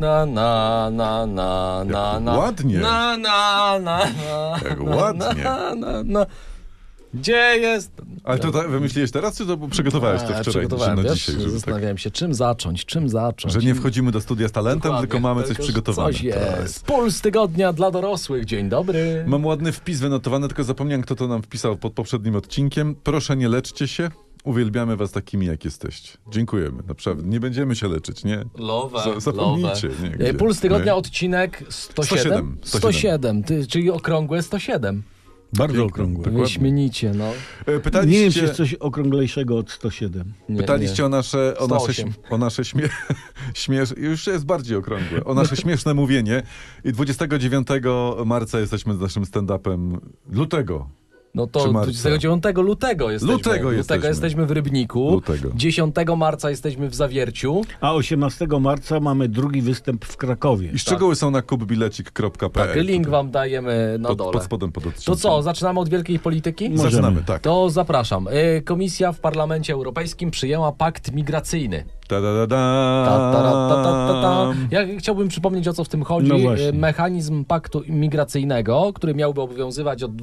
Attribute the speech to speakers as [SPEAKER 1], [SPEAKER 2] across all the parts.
[SPEAKER 1] Na, na, na, na, na,
[SPEAKER 2] Jak
[SPEAKER 1] na.
[SPEAKER 2] ładnie.
[SPEAKER 1] Na, na, na, na.
[SPEAKER 2] Jak ładnie.
[SPEAKER 1] Na, na, na. Gdzie jest?
[SPEAKER 2] Ale to tak wymyśliłeś teraz, czy to przygotowałeś
[SPEAKER 1] A,
[SPEAKER 2] to wczoraj, że
[SPEAKER 1] No. przygotowałem,
[SPEAKER 2] na
[SPEAKER 1] wiesz?
[SPEAKER 2] dzisiaj? Żeby tak,
[SPEAKER 1] Zastanawiałem się, czym zacząć, czym zacząć.
[SPEAKER 2] że nie wchodzimy do studia z talentem,
[SPEAKER 1] Dokładnie,
[SPEAKER 2] tylko mamy coś
[SPEAKER 1] że
[SPEAKER 2] przygotowane.
[SPEAKER 1] Coś
[SPEAKER 2] Tak.
[SPEAKER 1] jest. Puls tygodnia dla dorosłych. Dzień dobry.
[SPEAKER 2] Mam ładny wpis wynotowany, tylko zapomniałem, kto to nam wpisał pod poprzednim odcinkiem. Proszę nie leczcie się. Uwielbiamy was takimi, jak jesteście. Dziękujemy, naprawdę. Nie będziemy się leczyć, nie?
[SPEAKER 1] Love,
[SPEAKER 2] Za- zapomnijcie, nie,
[SPEAKER 1] E,
[SPEAKER 2] gdzie?
[SPEAKER 1] Puls tygodnia,
[SPEAKER 2] My?
[SPEAKER 1] odcinek 107.
[SPEAKER 2] 107.
[SPEAKER 1] 107, ty, czyli okrągłe 107.
[SPEAKER 3] Bardzo
[SPEAKER 2] Piękne,
[SPEAKER 3] okrągłe.
[SPEAKER 2] Dokładnie.
[SPEAKER 1] Wyśmienicie, no.
[SPEAKER 2] E,
[SPEAKER 3] Nie wiem, czy
[SPEAKER 2] Pytaliście,
[SPEAKER 3] jest coś okrąglejszego od 107.
[SPEAKER 1] Nie,
[SPEAKER 2] pytaliście o nasze, o nasze,
[SPEAKER 1] 108.
[SPEAKER 2] śm- o nasze śmie śmiesz... Już jest bardziej okrągłe. O nasze śmieszne mówienie. I 29 marca jesteśmy z naszym stand-upem lutego.
[SPEAKER 1] No
[SPEAKER 2] Czy
[SPEAKER 1] to
[SPEAKER 2] marca?
[SPEAKER 1] 29 lutego jesteśmy.
[SPEAKER 2] Lutego jesteśmy.
[SPEAKER 1] jesteśmy w Rybniku.
[SPEAKER 2] Lutego. Tak,
[SPEAKER 1] 10 marca jesteśmy w Zawierciu.
[SPEAKER 3] A 18 marca mamy drugi występ w Krakowie.
[SPEAKER 2] I szczegóły są na kubbilecik.pl.
[SPEAKER 1] Tak, link wam dajemy na
[SPEAKER 2] pod,
[SPEAKER 1] dole.
[SPEAKER 2] pod spodem pod odcinkiem.
[SPEAKER 1] to co, zaczynamy od wielkiej polityki?
[SPEAKER 3] Może.
[SPEAKER 2] Zaczynamy,
[SPEAKER 3] Możemy.
[SPEAKER 2] tak.
[SPEAKER 1] To zapraszam. Y, Komisja w Parlamencie Europejskim przyjęła pakt migracyjny.
[SPEAKER 2] Ta, da, da,
[SPEAKER 1] Ta, ta, ra, ta, ta, ta, ta.
[SPEAKER 2] da.
[SPEAKER 1] Ja chciałbym przypomnieć, o co w tym chodzi.
[SPEAKER 3] No właśnie.
[SPEAKER 1] Y, Mechanizm paktu migracyjnego, który miałby obowiązywać od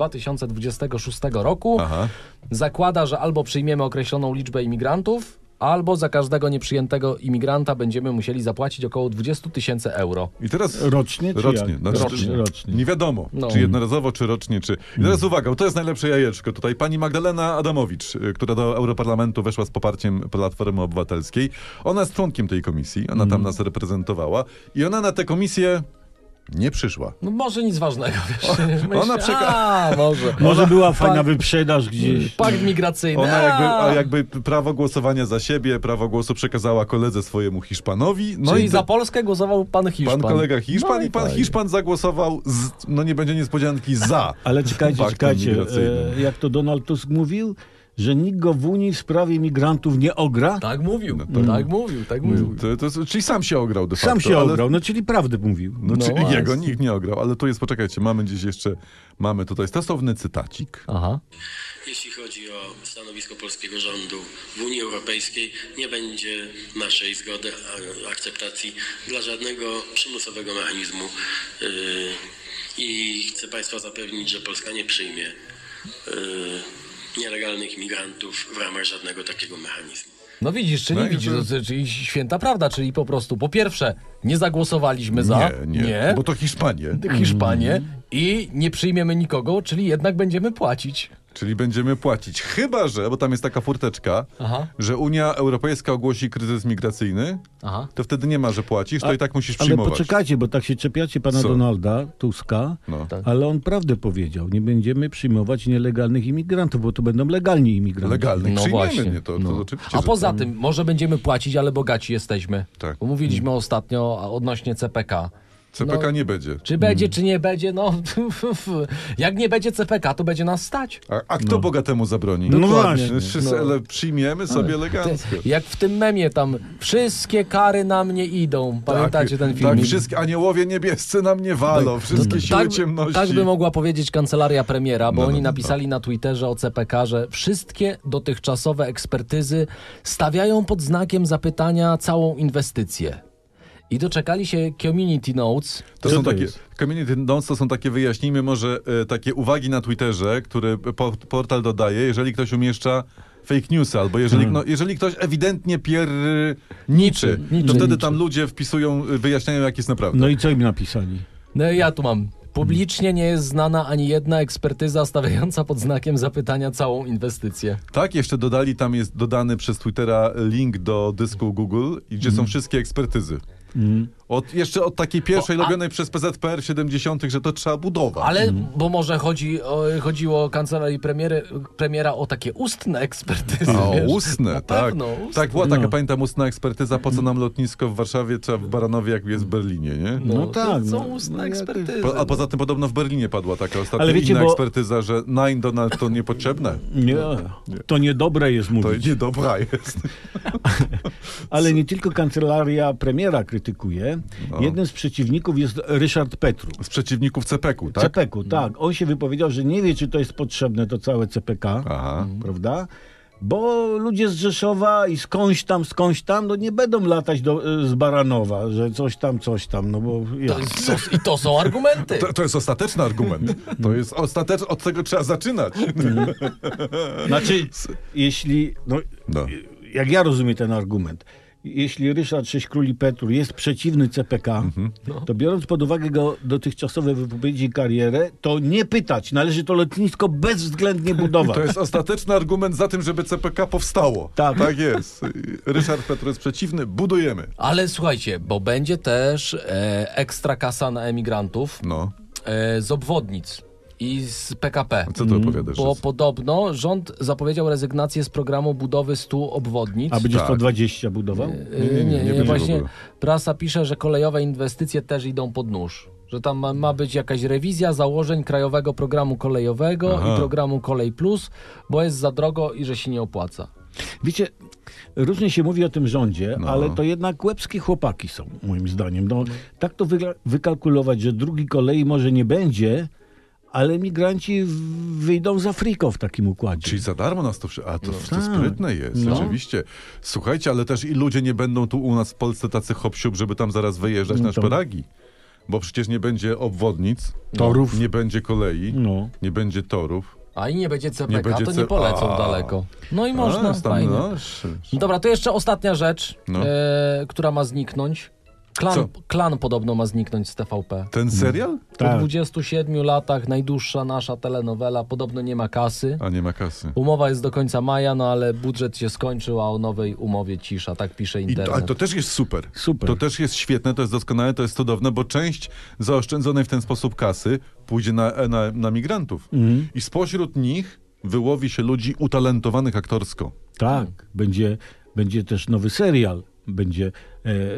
[SPEAKER 1] 2026 roku,
[SPEAKER 2] Aha.
[SPEAKER 1] zakłada, że albo przyjmiemy określoną liczbę imigrantów, albo za każdego nieprzyjętego imigranta będziemy musieli zapłacić około 20 tysięcy euro.
[SPEAKER 2] I teraz
[SPEAKER 3] Rocznie czy
[SPEAKER 2] rocznie.
[SPEAKER 3] jak?
[SPEAKER 2] Znaczy,
[SPEAKER 3] rocznie. rocznie. Hmm.
[SPEAKER 2] Nie wiadomo,
[SPEAKER 1] No.
[SPEAKER 2] czy jednorazowo, czy rocznie, czy... I teraz uwaga, bo to jest najlepsze jajeczko. Tutaj pani Magdalena Adamowicz, y, która do Europarlamentu weszła z poparciem Platformy Obywatelskiej. Ona jest członkiem tej komisji, ona
[SPEAKER 1] Hmm.
[SPEAKER 2] tam nas reprezentowała i ona na tę komisję nie przyszła.
[SPEAKER 1] No może nic ważnego, wiesz. Myślę,
[SPEAKER 2] ona przeka-
[SPEAKER 1] A, może.
[SPEAKER 3] Może była fajna
[SPEAKER 1] Pan-
[SPEAKER 3] wyprzedaż gdzieś.
[SPEAKER 1] Pakt migracyjny.
[SPEAKER 2] Ona jakby,
[SPEAKER 1] a,
[SPEAKER 2] a jakby prawo głosowania za siebie, prawo głosu przekazała koledze swojemu Hiszpanowi. No
[SPEAKER 1] Czyli
[SPEAKER 2] i
[SPEAKER 1] za
[SPEAKER 2] do-
[SPEAKER 1] Polskę głosował pan
[SPEAKER 2] Pan
[SPEAKER 1] Hiszpan.
[SPEAKER 2] kolega Hiszpan
[SPEAKER 1] No
[SPEAKER 2] i pan
[SPEAKER 1] fajnie.
[SPEAKER 2] Hiszpan zagłosował, z, no nie będzie niespodzianki, za.
[SPEAKER 3] Ale czekajcie,
[SPEAKER 2] Paktem
[SPEAKER 3] czekajcie.
[SPEAKER 2] migracyjnym.
[SPEAKER 3] E, jak to Donald Tusk mówił, że nikt go w Unii w sprawie migrantów nie ogra?
[SPEAKER 1] Tak mówił,
[SPEAKER 2] No
[SPEAKER 1] tak.
[SPEAKER 2] tak.
[SPEAKER 1] mówił, tak mówił.
[SPEAKER 2] To, to, jest- czyli sam się ograł de facto.
[SPEAKER 3] Sam się
[SPEAKER 2] tak, ale-
[SPEAKER 3] ograł, no czyli prawdę mówił.
[SPEAKER 2] No,
[SPEAKER 1] No
[SPEAKER 2] czyli
[SPEAKER 1] właśnie.
[SPEAKER 2] jego nikt nie ograł, ale tu jest, poczekajcie, mamy gdzieś jeszcze, mamy tutaj stosowny cytacik.
[SPEAKER 1] Aha.
[SPEAKER 4] Jeśli chodzi o stanowisko polskiego rządu w Unii Europejskiej, nie będzie naszej zgody, a- akceptacji dla żadnego przymusowego mechanizmu. Yy, I chcę Państwa zapewnić, że Polska nie przyjmie yy, nielegalnych imigrantów w ramach żadnego takiego mechanizmu.
[SPEAKER 1] No widzisz, czy nie
[SPEAKER 2] No i
[SPEAKER 1] widzisz,
[SPEAKER 2] to-
[SPEAKER 1] to- czyli święta prawda, czyli po prostu po pierwsze nie zagłosowaliśmy za,
[SPEAKER 2] nie, nie, bo to Hiszpanie.
[SPEAKER 1] Hiszpanie i nie przyjmiemy nikogo, czyli jednak będziemy płacić.
[SPEAKER 2] Czyli będziemy płacić. Chyba, że, bo tam jest taka furteczka,
[SPEAKER 1] Aha.
[SPEAKER 2] że Unia Europejska ogłosi kryzys migracyjny,
[SPEAKER 1] Aha.
[SPEAKER 2] to wtedy nie ma, że płacisz, to i tak musisz
[SPEAKER 3] Ale
[SPEAKER 2] przyjmować.
[SPEAKER 3] poczekajcie, bo tak się czepiacie pana
[SPEAKER 2] Co?
[SPEAKER 3] Donalda Tuska,
[SPEAKER 2] No. Tak.
[SPEAKER 3] ale on prawdę powiedział. Nie będziemy przyjmować nielegalnych imigrantów, bo to będą legalni imigranci.
[SPEAKER 2] Legalny,
[SPEAKER 1] No
[SPEAKER 2] przyjmiemy,
[SPEAKER 1] właśnie.
[SPEAKER 2] nie, to, to oczywiście.
[SPEAKER 1] A
[SPEAKER 2] że
[SPEAKER 1] poza
[SPEAKER 2] to-
[SPEAKER 1] tym, może będziemy płacić, ale bogaci jesteśmy.
[SPEAKER 2] Tak.
[SPEAKER 1] Bo mówiliśmy ostatnio a, odnośnie CPK.
[SPEAKER 2] CPK
[SPEAKER 1] no-
[SPEAKER 2] nie będzie.
[SPEAKER 1] Czy będzie, czy nie będzie, no jak nie będzie CPK, to będzie nas stać.
[SPEAKER 2] A, a kto bogatemu zabroni?
[SPEAKER 3] No
[SPEAKER 2] Dokładnie.
[SPEAKER 3] właśnie,
[SPEAKER 2] Wszyscy,
[SPEAKER 1] no.
[SPEAKER 2] Ale przyjmiemy sobie
[SPEAKER 1] Te,
[SPEAKER 2] elegancko.
[SPEAKER 1] jak w tym memie tam, wszystkie kary na mnie idą. Pamiętacie ten film?
[SPEAKER 2] Tak, wszystkie aniołowie niebiescy na mnie walą, wszystkie siły
[SPEAKER 1] tak,
[SPEAKER 2] ciemności.
[SPEAKER 1] tak by mogła powiedzieć kancelaria premiera, bo
[SPEAKER 2] No, no,
[SPEAKER 1] oni
[SPEAKER 2] no.
[SPEAKER 1] napisali na Twitterze o CPK, że wszystkie dotychczasowe ekspertyzy stawiają pod znakiem zapytania całą inwestycję. I doczekali się community notes.
[SPEAKER 2] To
[SPEAKER 3] Co
[SPEAKER 2] są
[SPEAKER 3] to
[SPEAKER 2] takie,
[SPEAKER 3] jest?
[SPEAKER 2] community notes to są takie, wyjaśnijmy może, e, takie uwagi na Twitterze, które po, portal dodaje, jeżeli ktoś umieszcza fake newsy, albo jeżeli, no, jeżeli ktoś ewidentnie pier... niczy,
[SPEAKER 1] Hmm. Niczy,
[SPEAKER 2] to wtedy
[SPEAKER 1] niczy.
[SPEAKER 2] tam ludzie wpisują, e, wyjaśniają jak jest naprawdę.
[SPEAKER 3] No i co im napisali?
[SPEAKER 1] No i ja tu mam. Publicznie nie jest znana ani jedna ekspertyza stawiająca pod znakiem zapytania całą inwestycję.
[SPEAKER 2] Tak, jeszcze dodali, tam jest dodany przez Twittera link do dysku Google, i gdzie
[SPEAKER 1] Mhm.
[SPEAKER 2] są wszystkie ekspertyzy. Od, jeszcze od takiej pierwszej
[SPEAKER 1] O, Mhm. a-
[SPEAKER 2] robionej przez PZPR 70., że to trzeba budować.
[SPEAKER 1] Ale, bo może chodzi o, chodziło o kancelarii premiery, premiera o takie ustne ekspertyzy.
[SPEAKER 2] A,
[SPEAKER 1] wiesz?
[SPEAKER 2] ustne,
[SPEAKER 1] Na
[SPEAKER 2] tak.
[SPEAKER 1] Pewno, ustne.
[SPEAKER 2] Tak, była taka,
[SPEAKER 3] No.
[SPEAKER 2] pamiętam, ustna ekspertyza, po co nam lotnisko w Warszawie, czy w Baranowie, jak jest w Berlinie, nie?
[SPEAKER 1] No,
[SPEAKER 3] No
[SPEAKER 1] tak.
[SPEAKER 3] tak,
[SPEAKER 1] To są
[SPEAKER 3] no,
[SPEAKER 1] ustne
[SPEAKER 3] no jakieś-
[SPEAKER 1] ekspertyzy.
[SPEAKER 2] Po, a poza tym podobno w Berlinie padła taka ostatnia
[SPEAKER 3] Ale wiecie,
[SPEAKER 2] inna
[SPEAKER 3] bo-
[SPEAKER 2] ekspertyza, że nine Donald to niepotrzebne.
[SPEAKER 3] Nie, to niedobre jest
[SPEAKER 2] To
[SPEAKER 3] mówić.
[SPEAKER 2] niedobra jest.
[SPEAKER 3] Ale nie tylko kancelaria premiera krytykuje. Jednym z przeciwników jest Ryszard Petru.
[SPEAKER 2] Z przeciwników CPK-u, tak?
[SPEAKER 1] Mhm.
[SPEAKER 3] CPK-u, tak. On się wypowiedział, że nie wie, czy to jest potrzebne, to całe CPK,
[SPEAKER 2] Aha.
[SPEAKER 3] prawda? Bo ludzie z Rzeszowa i skądś tam, skądś tam, no nie będą latać do, y, z Baranowa, że coś tam, coś tam, no bo
[SPEAKER 1] To
[SPEAKER 3] jak?
[SPEAKER 1] jest, to, I to są argumenty.
[SPEAKER 2] Tak. To, to jest ostateczny argument. To jest ostateczny, od tego trzeba zaczynać.
[SPEAKER 3] Znaczy, jeśli, no,
[SPEAKER 2] No.
[SPEAKER 3] jak ja rozumiem ten argument, jeśli Ryszard Sześć Króli Petru jest przeciwny CPK,
[SPEAKER 2] Mhm.
[SPEAKER 3] to biorąc pod uwagę go dotychczasowe wypowiedzi i karierę, to nie pytać, należy to lotnisko bezwzględnie budować.
[SPEAKER 2] To jest ostateczny argument za tym, żeby CPK powstało.
[SPEAKER 3] Tak.
[SPEAKER 2] tak jest. Ryszard Petru jest przeciwny, budujemy.
[SPEAKER 1] Ale słuchajcie, bo będzie też e, ekstra kasa na emigrantów
[SPEAKER 2] No,
[SPEAKER 1] e, z obwodnic i z PKP.
[SPEAKER 2] co
[SPEAKER 3] Mm.
[SPEAKER 2] ty opowiadasz?
[SPEAKER 1] Bo podobno rząd zapowiedział rezygnację z programu budowy 100 obwodnic.
[SPEAKER 3] A będzie
[SPEAKER 2] Tak.
[SPEAKER 3] 120 budował?
[SPEAKER 1] E,
[SPEAKER 2] nie, nie, nie będzie w
[SPEAKER 1] właśnie
[SPEAKER 2] ogóle.
[SPEAKER 1] prasa pisze, że kolejowe inwestycje też idą pod nóż. Że tam ma, ma być jakaś rewizja założeń Krajowego Programu Kolejowego
[SPEAKER 2] Aha.
[SPEAKER 1] i programu Kolej Plus, bo jest za drogo i że się nie opłaca.
[SPEAKER 3] Wiecie, różnie się mówi o tym rządzie,
[SPEAKER 2] No.
[SPEAKER 3] ale to jednak łebskie chłopaki są, moim zdaniem. No, tak to wyga- wykalkulować, że drugi kolei może nie będzie, ale migranci w- wyjdą z Afryką w takim układzie.
[SPEAKER 2] Czyli za darmo nas to wszystko. A to, to
[SPEAKER 3] tak.
[SPEAKER 2] sprytne jest,
[SPEAKER 3] No.
[SPEAKER 2] rzeczywiście. Słuchajcie, ale też i ludzie nie będą tu u nas w Polsce tacy hop żeby tam zaraz wyjeżdżać na
[SPEAKER 3] No to-
[SPEAKER 2] szparagi. Bo przecież nie będzie obwodnic,
[SPEAKER 3] Torów.
[SPEAKER 2] nie będzie kolei,
[SPEAKER 3] No.
[SPEAKER 2] nie będzie torów.
[SPEAKER 1] A i nie będzie CPK,
[SPEAKER 2] Nie będzie
[SPEAKER 1] to
[SPEAKER 2] C-
[SPEAKER 1] nie polecą
[SPEAKER 2] A.
[SPEAKER 1] daleko. No i można,
[SPEAKER 2] A, jest tam,
[SPEAKER 1] fajnie.
[SPEAKER 2] no, sz- sz-
[SPEAKER 1] Dobra, to jeszcze ostatnia rzecz,
[SPEAKER 2] No.
[SPEAKER 1] e, która ma zniknąć.
[SPEAKER 2] Co?
[SPEAKER 1] Klan, klan podobno ma zniknąć z TVP.
[SPEAKER 2] Ten serial?
[SPEAKER 1] Po
[SPEAKER 3] Tak.
[SPEAKER 1] 27 latach najdłuższa nasza telenowela, podobno nie ma kasy.
[SPEAKER 2] A nie ma kasy.
[SPEAKER 1] Umowa jest do końca maja, no ale budżet się skończył, a o nowej umowie cisza, tak pisze
[SPEAKER 2] I to, ale
[SPEAKER 1] internet.
[SPEAKER 2] to też jest super.
[SPEAKER 3] Super.
[SPEAKER 2] To też jest świetne, to jest doskonałe, to jest cudowne, bo część zaoszczędzonej w ten sposób kasy pójdzie na, na, na migrantów.
[SPEAKER 1] Mhm.
[SPEAKER 2] I spośród nich wyłowi się ludzi utalentowanych aktorsko.
[SPEAKER 3] Tak, będzie, będzie też nowy serial. Będzie,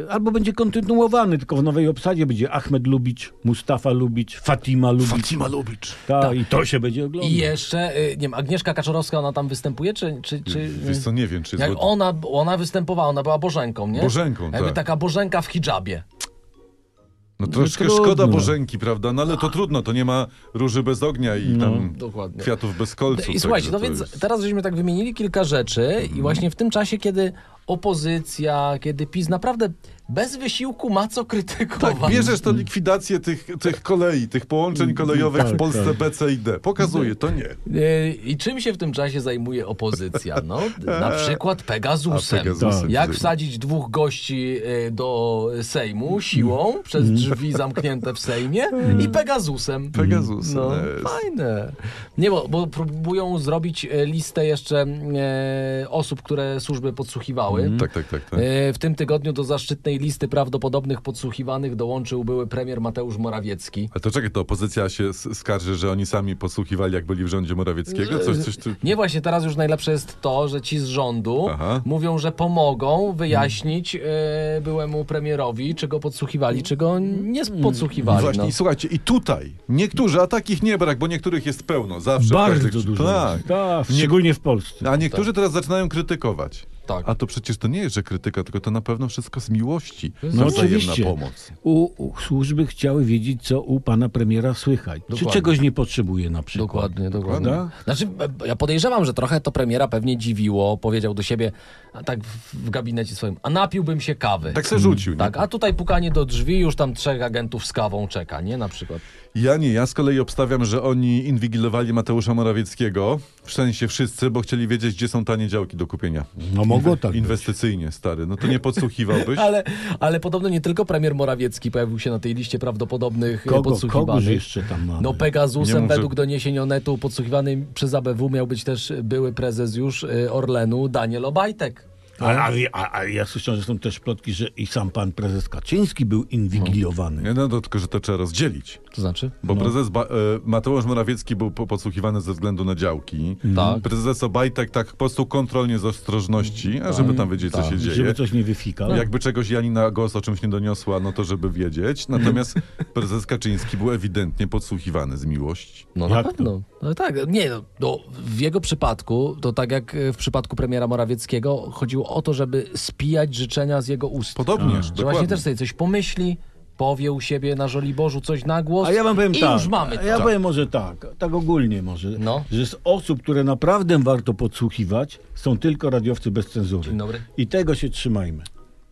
[SPEAKER 3] e, albo będzie kontynuowany, tylko w nowej obsadzie będzie Ahmed Lubicz, Mustafa Lubicz, Fatima Lubicz.
[SPEAKER 2] Lubicz.
[SPEAKER 3] Ta, I to się będzie oglądać.
[SPEAKER 1] I jeszcze, y, nie wiem, Agnieszka Kaczorowska, ona tam występuje, czy... czy, czy y,
[SPEAKER 2] Wiesz co, nie wiem, czy
[SPEAKER 1] jak
[SPEAKER 2] jest bo-
[SPEAKER 1] ona, ona występowała, ona była Bożenką, nie?
[SPEAKER 2] Bożenką,
[SPEAKER 1] Jakby
[SPEAKER 2] tak.
[SPEAKER 1] taka Bożenka w hijabie.
[SPEAKER 2] No troszkę
[SPEAKER 3] trudno.
[SPEAKER 2] szkoda Bożenki, prawda? No ale to trudno, to nie ma róży bez ognia i tam
[SPEAKER 1] No, dokładnie.
[SPEAKER 2] kwiatów bez kolców.
[SPEAKER 1] I słuchajcie, no
[SPEAKER 2] także to
[SPEAKER 1] więc
[SPEAKER 2] jest- Mhm.
[SPEAKER 1] teraz żeśmy tak wymienili kilka rzeczy i właśnie w tym czasie, kiedy opozycja, kiedy PiS naprawdę bez wysiłku ma co krytykować.
[SPEAKER 2] Tak, bierzesz to likwidację tych, tych kolei, tych połączeń
[SPEAKER 1] Mm,
[SPEAKER 2] kolejowych w
[SPEAKER 3] tak,
[SPEAKER 2] Polsce
[SPEAKER 3] tak.
[SPEAKER 2] B, C i D. Pokazuje, to nie.
[SPEAKER 1] E, I czym się w tym czasie zajmuje opozycja? No, na przykład Pegasusem.
[SPEAKER 2] A, Pegasusem.
[SPEAKER 1] Tak. Jak wsadzić dwóch gości e, do Sejmu
[SPEAKER 2] Mhm.
[SPEAKER 1] siłą przez drzwi zamknięte w Sejmie i Pegasusem.
[SPEAKER 2] Pegasus. e,
[SPEAKER 1] No,
[SPEAKER 2] Mhm. jest.
[SPEAKER 1] fajne. Nie, bo, bo próbują zrobić e, listę jeszcze e, osób, które służby podsłuchiwały.
[SPEAKER 2] Tak, tak, tak. tak.
[SPEAKER 1] E, W tym tygodniu do zaszczytnej listy prawdopodobnych podsłuchiwanych dołączył były premier Mateusz Morawiecki.
[SPEAKER 2] A to czekaj, to opozycja się s- skarży, że oni sami posłuchiwali, jak byli w rządzie Morawieckiego? Coś, coś tu...
[SPEAKER 1] Nie właśnie teraz już najlepsze jest to, że ci z rządu
[SPEAKER 2] Aha.
[SPEAKER 1] mówią, że pomogą wyjaśnić e, byłemu premierowi, czy go podsłuchiwali, czy go nie podsłuchiwali.
[SPEAKER 2] Hmm. Właśnie,
[SPEAKER 1] no.
[SPEAKER 2] i słuchajcie, i tutaj niektórzy, a takich nie brak, bo niektórych jest pełno, zawsze. w
[SPEAKER 3] Bardzo
[SPEAKER 2] każdych-
[SPEAKER 3] dużo.
[SPEAKER 2] Tak.
[SPEAKER 3] jest. Tak, szczególnie w Polsce.
[SPEAKER 2] A niektórzy teraz zaczynają krytykować.
[SPEAKER 1] Tak.
[SPEAKER 2] A to przecież to nie jest, że krytyka, tylko to na pewno wszystko z miłości.
[SPEAKER 3] No
[SPEAKER 2] No wzajemna
[SPEAKER 3] oczywiście.
[SPEAKER 2] pomoc.
[SPEAKER 3] U, u służby chciały wiedzieć, co u pana premiera słychać.
[SPEAKER 1] Dokładnie.
[SPEAKER 3] Czy czegoś nie potrzebuje na przykład.
[SPEAKER 1] Dokładnie, dokładnie.
[SPEAKER 3] Prawda?
[SPEAKER 1] Znaczy, e, ja podejrzewam, że trochę to premiera pewnie dziwiło. Powiedział do siebie, a tak w, w gabinecie swoim, a napiłbym się kawy.
[SPEAKER 2] Tak
[SPEAKER 3] Mm,
[SPEAKER 2] se rzucił. nie?
[SPEAKER 1] Tak, a tutaj pukanie do drzwi, już tam trzech agentów z kawą czeka, nie? Na przykład.
[SPEAKER 2] Ja nie, ja z kolei obstawiam, że oni inwigilowali Mateusza Morawieckiego, w sensie wszyscy, bo chcieli wiedzieć, gdzie są tanie działki do kupienia.
[SPEAKER 3] No mogło tak. być.
[SPEAKER 2] Inwestycyjnie, stary. No to nie podsłuchiwałbyś.
[SPEAKER 1] Ale, ale podobno nie tylko premier Morawiecki pojawił się na tej liście prawdopodobnych e,
[SPEAKER 3] Kogo, kogoż
[SPEAKER 1] podsłuchiwanych.
[SPEAKER 3] jeszcze tam mamy?
[SPEAKER 1] No
[SPEAKER 2] Nie
[SPEAKER 1] Pegasusem
[SPEAKER 2] mów, że-
[SPEAKER 1] według doniesień Onetu podsłuchiwany przez ABW miał być też były prezes już e, Orlenu Daniel Obajtek.
[SPEAKER 3] a, a, a, a ja słyszałem, że są też plotki, że i sam pan prezes Kaczyński był inwigilowany.
[SPEAKER 2] Nie, no to tylko, że to trzeba rozdzielić.
[SPEAKER 1] To znaczy?
[SPEAKER 2] Bo prezes ba- e, Mateusz Morawiecki był po- podsłuchiwany ze względu na działki.
[SPEAKER 1] Tak.
[SPEAKER 2] Prezes Obajtek tak po prostu kontrolnie z ostrożności, a żeby tam wiedzieć,
[SPEAKER 1] Tak.
[SPEAKER 2] co się dzieje.
[SPEAKER 3] Żeby coś nie wyfikał.
[SPEAKER 2] Jakby czegoś Janina Gos o czymś nie doniosła, no to żeby wiedzieć. Natomiast prezes Kaczyński był ewidentnie podsłuchiwany z miłości.
[SPEAKER 1] No na
[SPEAKER 3] Jak to?
[SPEAKER 1] pewno. No, tak, nie, no, no, w jego przypadku, to tak jak e, w przypadku premiera Morawieckiego, chodziło o to, żeby spijać życzenia z jego ust.
[SPEAKER 2] Podobnież,
[SPEAKER 1] Że
[SPEAKER 2] dokładnie.
[SPEAKER 1] właśnie też sobie coś pomyśli, powie u siebie na Żoliborzu coś na głos
[SPEAKER 3] A ja wam powiem
[SPEAKER 1] i
[SPEAKER 3] tak.
[SPEAKER 1] już mamy
[SPEAKER 3] a
[SPEAKER 1] to.
[SPEAKER 3] ja powiem może tak, tak ogólnie może,
[SPEAKER 1] No.
[SPEAKER 3] że z osób, które naprawdę warto podsłuchiwać, są tylko radiowcy bez cenzury.
[SPEAKER 1] Dzień dobry.
[SPEAKER 3] I tego się trzymajmy.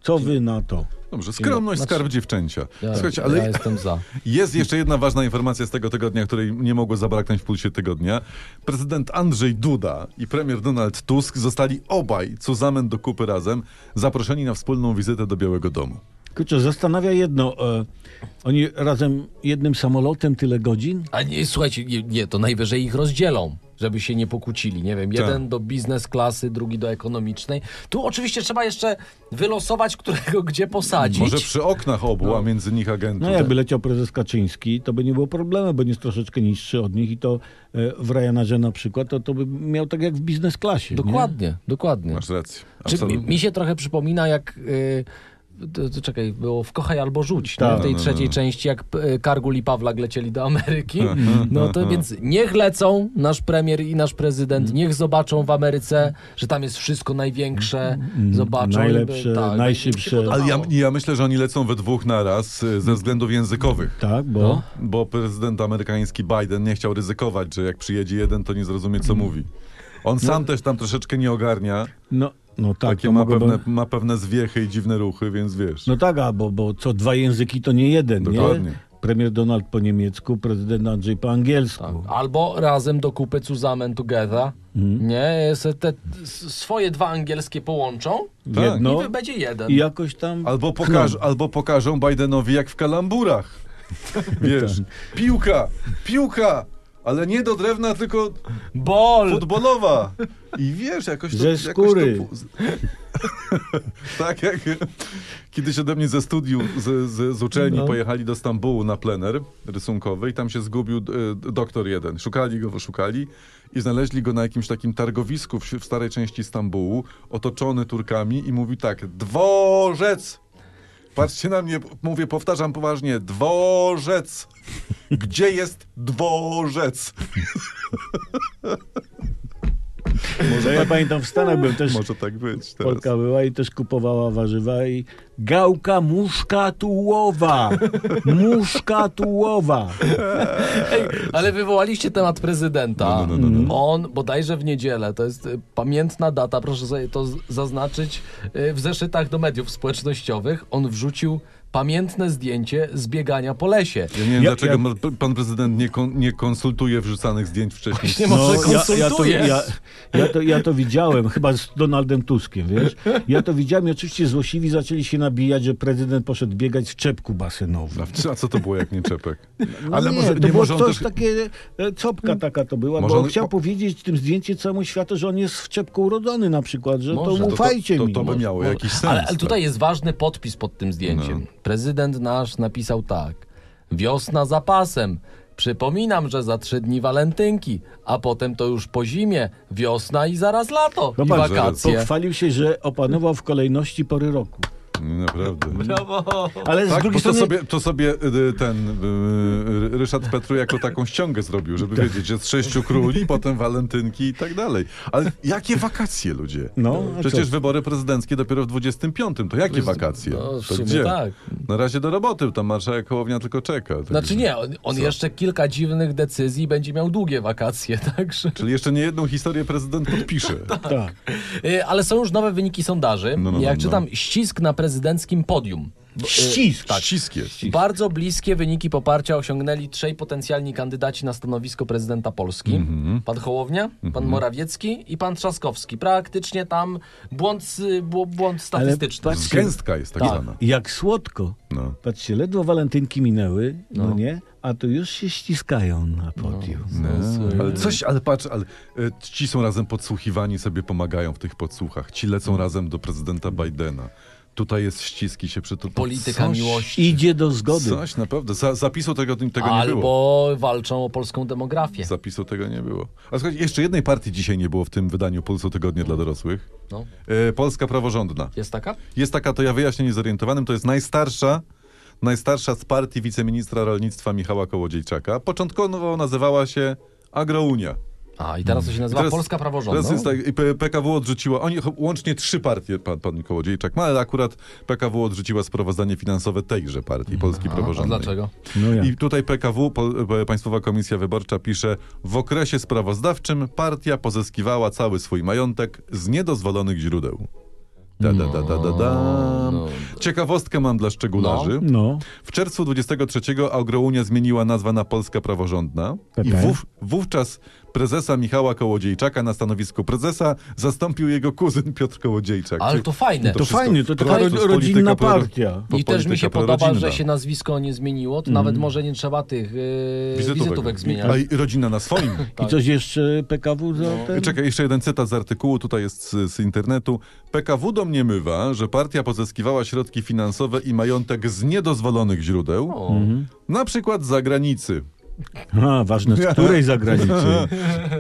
[SPEAKER 3] Co wy na to?
[SPEAKER 2] Dobrze, skromność,
[SPEAKER 1] Znaczy-
[SPEAKER 2] skarb dziewczęcia.
[SPEAKER 1] Ja,
[SPEAKER 2] Słuchajcie,
[SPEAKER 1] ja
[SPEAKER 2] ale
[SPEAKER 1] jestem za.
[SPEAKER 2] jest jeszcze jedna ważna informacja z tego tygodnia, której nie mogło zabraknąć w pulsie tygodnia. Prezydent Andrzej Duda i premier Donald Tusk zostali obaj, co zamen do kupy razem, zaproszeni na wspólną wizytę do Białego Domu.
[SPEAKER 3] Kurczę, zastanawia jedno, e, oni razem jednym samolotem tyle godzin?
[SPEAKER 1] A nie, słuchajcie, nie, nie, to najwyżej ich rozdzielą, żeby się nie pokłócili. Nie wiem, jeden
[SPEAKER 2] Tak.
[SPEAKER 1] do biznes klasy, drugi do ekonomicznej. Tu oczywiście trzeba jeszcze wylosować, którego gdzie posadzić.
[SPEAKER 2] Może przy oknach obu, a między nich agentów.
[SPEAKER 3] No jakby leciał prezes Kaczyński, to by nie było problemu, bo nie jest troszeczkę niższy od nich i to e, w Ryanairze na przykład, to, to by miał tak jak w biznes klasie.
[SPEAKER 1] Dokładnie, dokładnie.
[SPEAKER 2] Masz rację.
[SPEAKER 1] Czy mi,
[SPEAKER 2] Absolutnie.
[SPEAKER 1] mi się trochę przypomina, jak. y, to, to, czekaj, było w Kochaj albo Rzuć, nie?
[SPEAKER 3] Tak.
[SPEAKER 1] w tej
[SPEAKER 2] No, no,
[SPEAKER 1] trzeciej
[SPEAKER 2] no.
[SPEAKER 1] części, jak y, Kargul i Pawlak lecieli do Ameryki.
[SPEAKER 2] Mhm.
[SPEAKER 1] No to więc niech lecą nasz premier i nasz prezydent,
[SPEAKER 2] Mhm.
[SPEAKER 1] niech zobaczą w Ameryce, że tam jest wszystko największe,
[SPEAKER 2] Mhm.
[SPEAKER 1] zobaczą.
[SPEAKER 3] najlepsze,
[SPEAKER 1] jakby- tak,
[SPEAKER 3] najszybsze.
[SPEAKER 1] jakby im się
[SPEAKER 2] Ale ja,
[SPEAKER 1] podobało.
[SPEAKER 2] ja myślę, że oni lecą we dwóch naraz y, ze względów językowych.
[SPEAKER 3] Nie? Tak, bo...
[SPEAKER 1] No.
[SPEAKER 2] Bo prezydent amerykański Biden nie chciał ryzykować, że jak przyjedzie jeden, to nie zrozumie, co mówi. On sam też tam troszeczkę nie ogarnia.
[SPEAKER 3] No, no tak,
[SPEAKER 2] Takie
[SPEAKER 3] to
[SPEAKER 2] ma
[SPEAKER 3] mogłoby-
[SPEAKER 2] pewne, ma pewne zwiechy i dziwne ruchy, więc wiesz.
[SPEAKER 3] No tak, a bo, bo co dwa języki to nie jeden,
[SPEAKER 2] Dokładnie.
[SPEAKER 3] nie? Premier Donald po niemiecku, prezydent Andrzej po angielsku.
[SPEAKER 2] Tak.
[SPEAKER 1] Albo razem do kupy Cuzamen Together,
[SPEAKER 2] Mhm.
[SPEAKER 1] nie? Se te s- swoje dwa angielskie połączą
[SPEAKER 2] Tak.
[SPEAKER 1] i
[SPEAKER 3] Jedno
[SPEAKER 1] wy- będzie jeden.
[SPEAKER 3] i jakoś tam...
[SPEAKER 2] Albo, pokaż, albo pokażą Bidenowi, jak w kalamburach. Wiesz, piłka, piłka, ale nie do drewna, tylko
[SPEAKER 1] Bol!
[SPEAKER 2] futbolowa. I wiesz, jakoś to...
[SPEAKER 3] Ze
[SPEAKER 2] jakoś to
[SPEAKER 3] skóry.
[SPEAKER 2] pu- z- tak jak kiedyś ode mnie ze studiów, z, z, z uczelni
[SPEAKER 3] No.
[SPEAKER 2] pojechali do Stambułu na plener rysunkowy i tam się zgubił e, doktor jeden. Szukali go, szukali i znaleźli go na jakimś takim targowisku w, w starej części Stambułu, otoczony Turkami i mówi tak, dworzec! Patrzcie na mnie, mówię, powtarzam poważnie, dworzec! Gdzie jest dworzec?
[SPEAKER 3] Może ja pamiętam, w Stanach był też...
[SPEAKER 2] Może tak być teraz.
[SPEAKER 3] Polka była i też kupowała warzywa i gałka muszka tułowa. Muszka tułowa.
[SPEAKER 1] Ej, ale wywołaliście temat prezydenta. Mm.
[SPEAKER 2] No, no, no, no,
[SPEAKER 1] On bodajże w niedzielę, to jest y, pamiętna data, proszę sobie to z- zaznaczyć y, w zeszytach do mediów społecznościowych, on wrzucił pamiętne zdjęcie z biegania po lesie.
[SPEAKER 2] Ja nie wiem,
[SPEAKER 3] Ja-
[SPEAKER 2] dlaczego
[SPEAKER 3] ja-
[SPEAKER 2] ma- pan prezydent nie, kon, nie konsultuje wrzucanych zdjęć wcześniej.
[SPEAKER 1] Właśnie może
[SPEAKER 3] No, to,
[SPEAKER 1] konsultujesz.
[SPEAKER 3] ja, ja, to, ja to widziałem, chyba z Donaldem Tuskiem, wiesz? Ja to widziałem i oczywiście złośliwi zaczęli się nabijać, że prezydent poszedł biegać w czepku basenowym.
[SPEAKER 2] No, A co to było jak nie czepek?
[SPEAKER 3] No nie, to było coś takie, e, copka taka to była,
[SPEAKER 2] tak- Hmm. Może
[SPEAKER 3] bo
[SPEAKER 2] on-
[SPEAKER 3] on chciał powiedzieć w tym zdjęciu całemu światu, że on jest w czepku urodzony na przykład, że
[SPEAKER 1] Może.
[SPEAKER 3] to
[SPEAKER 1] To-
[SPEAKER 2] to,
[SPEAKER 3] ufajcie
[SPEAKER 2] to,
[SPEAKER 3] mi.
[SPEAKER 2] to by miało jakiś sens. tak. No.
[SPEAKER 1] Ale, ale tutaj jest ważny podpis pod tym zdjęciem. Prezydent nasz napisał tak. Wiosna za pasem. Przypominam, że za trzy dni walentynki, a potem to już po zimie, wiosna i zaraz lato i
[SPEAKER 3] Zobacz,
[SPEAKER 2] No że-
[SPEAKER 1] wakacje.
[SPEAKER 3] No Pochwalił się, że opanował w kolejności pory roku.
[SPEAKER 2] tak. Nie, Naprawdę.
[SPEAKER 1] Brawo!
[SPEAKER 3] Ale z
[SPEAKER 2] Tak, bo
[SPEAKER 3] drugiej
[SPEAKER 2] to
[SPEAKER 3] strony...
[SPEAKER 2] sobie, to sobie y, ten y, y, Ryszard Petru jako taką ściągę zrobił, żeby
[SPEAKER 3] Tak.
[SPEAKER 2] wiedzieć, że z sześciu króli, potem walentynki i tak dalej. Ale jakie wakacje, ludzie?
[SPEAKER 3] No, a
[SPEAKER 2] Przecież
[SPEAKER 3] co?
[SPEAKER 2] wybory prezydenckie dopiero w 25. To jakie wakacje?
[SPEAKER 1] no, w
[SPEAKER 2] to
[SPEAKER 1] sumie
[SPEAKER 2] gdzie?
[SPEAKER 1] tak.
[SPEAKER 2] Na razie do roboty, tam marszałek Hołownia tylko czeka. Także-
[SPEAKER 1] Znaczy nie, on, on jeszcze kilka dziwnych decyzji i będzie miał długie wakacje, także.
[SPEAKER 2] Czyli jeszcze nie jedną historię prezydent podpisze.
[SPEAKER 3] Tak.
[SPEAKER 1] Y, Ale są już nowe wyniki sondaży.
[SPEAKER 2] No, no,
[SPEAKER 1] Jak
[SPEAKER 2] no,
[SPEAKER 1] czytam, ścisk na prezydenckim podium. Bo, y,
[SPEAKER 3] E, Ścisk.
[SPEAKER 2] Tak. Ścisk jest.
[SPEAKER 1] Bardzo bliskie wyniki poparcia osiągnęli trzej potencjalni kandydaci na stanowisko prezydenta Polski.
[SPEAKER 2] Mhm.
[SPEAKER 1] Pan Hołownia, pan Morawiecki i pan Trzaskowski. Praktycznie tam błąd, y, bł- błąd statystyczny.
[SPEAKER 3] patrz-
[SPEAKER 2] Gęstka jest tak,
[SPEAKER 1] Tak.
[SPEAKER 2] zwana.
[SPEAKER 3] Jak słodko.
[SPEAKER 2] No.
[SPEAKER 3] Patrzcie, ledwo walentynki minęły, no, nie? A tu już się ściskają na podium.
[SPEAKER 2] No.
[SPEAKER 1] Tak.
[SPEAKER 2] Ale coś, ale patrz, ale e, ci są razem podsłuchiwani, sobie pomagają w tych podsłuchach. Ci lecą razem do prezydenta Bidena. Tutaj jest ściski się przy to.
[SPEAKER 1] Polityka
[SPEAKER 2] coś,
[SPEAKER 1] miłości.
[SPEAKER 3] Idzie do zgody.
[SPEAKER 2] Coś naprawdę. Za, zapisu tego, tego nie było.
[SPEAKER 1] Albo walczą o polską demografię.
[SPEAKER 2] Zapisu tego nie było. A słuchajcie, jeszcze jednej partii dzisiaj nie było w tym wydaniu Pulsu Tygodnia dla dorosłych.
[SPEAKER 1] No.
[SPEAKER 2] E, Polska Praworządna.
[SPEAKER 1] Jest taka?
[SPEAKER 2] Jest taka, to ja wyjaśnię niezorientowanym, to jest najstarsza, najstarsza z partii wiceministra rolnictwa Michała Kołodziejczaka. Początkowo nazywała się Agrounia.
[SPEAKER 1] A, i teraz to się nazywa
[SPEAKER 2] Mhm. Teraz-
[SPEAKER 1] Polska Praworządna.
[SPEAKER 2] Teraz jest tak, i P- PKW odrzuciła, oni ch- łącznie trzy partie, pan, pan Kołodziejczak ma, ale akurat PKW odrzuciła sprawozdanie finansowe tejże partii, Polski
[SPEAKER 1] A
[SPEAKER 2] Praworządnej.
[SPEAKER 1] dlaczego?
[SPEAKER 3] No ja.
[SPEAKER 2] I tutaj PKW, Pol- P- e, Państwowa Komisja Wyborcza pisze, w okresie sprawozdawczym partia pozyskiwała cały swój majątek z niedozwolonych źródeł. Da, da, da, da, da, da.
[SPEAKER 1] No.
[SPEAKER 2] Ciekawostkę mam dla szczegularzy.
[SPEAKER 3] No.
[SPEAKER 2] W czerwcu 23 Agrounia zmieniła nazwę na Polska Praworządna i
[SPEAKER 3] Tak.
[SPEAKER 2] wów, wówczas prezesa Michała Kołodziejczaka na stanowisku prezesa zastąpił jego kuzyn Piotr Kołodziejczak.
[SPEAKER 1] Ale to fajne.
[SPEAKER 3] To
[SPEAKER 2] wszystko-
[SPEAKER 3] fajnie, to taka
[SPEAKER 2] to
[SPEAKER 3] ro-
[SPEAKER 2] jest
[SPEAKER 3] rodzinna
[SPEAKER 2] polityka pro-
[SPEAKER 3] partia.
[SPEAKER 2] po-
[SPEAKER 1] I też mi
[SPEAKER 2] polityka
[SPEAKER 1] się podoba,
[SPEAKER 2] prorodzinna.
[SPEAKER 1] że się nazwisko nie zmieniło, to nawet może nie trzeba tych yy,
[SPEAKER 2] Mhm. Y, Wizytówek.
[SPEAKER 1] wizytówek. zmieniać.
[SPEAKER 2] A i rodzina na swoim. E,
[SPEAKER 3] I coś jeszcze PKW za ten?
[SPEAKER 2] Czekaj, jeszcze jeden cytat z artykułu, tutaj jest z, z internetu. PKW domniemywa, że partia pozyskiwała środki finansowe i majątek z niedozwolonych źródeł,
[SPEAKER 1] O.
[SPEAKER 2] na przykład z zagranicy.
[SPEAKER 3] A, ważne, z której zagranicy.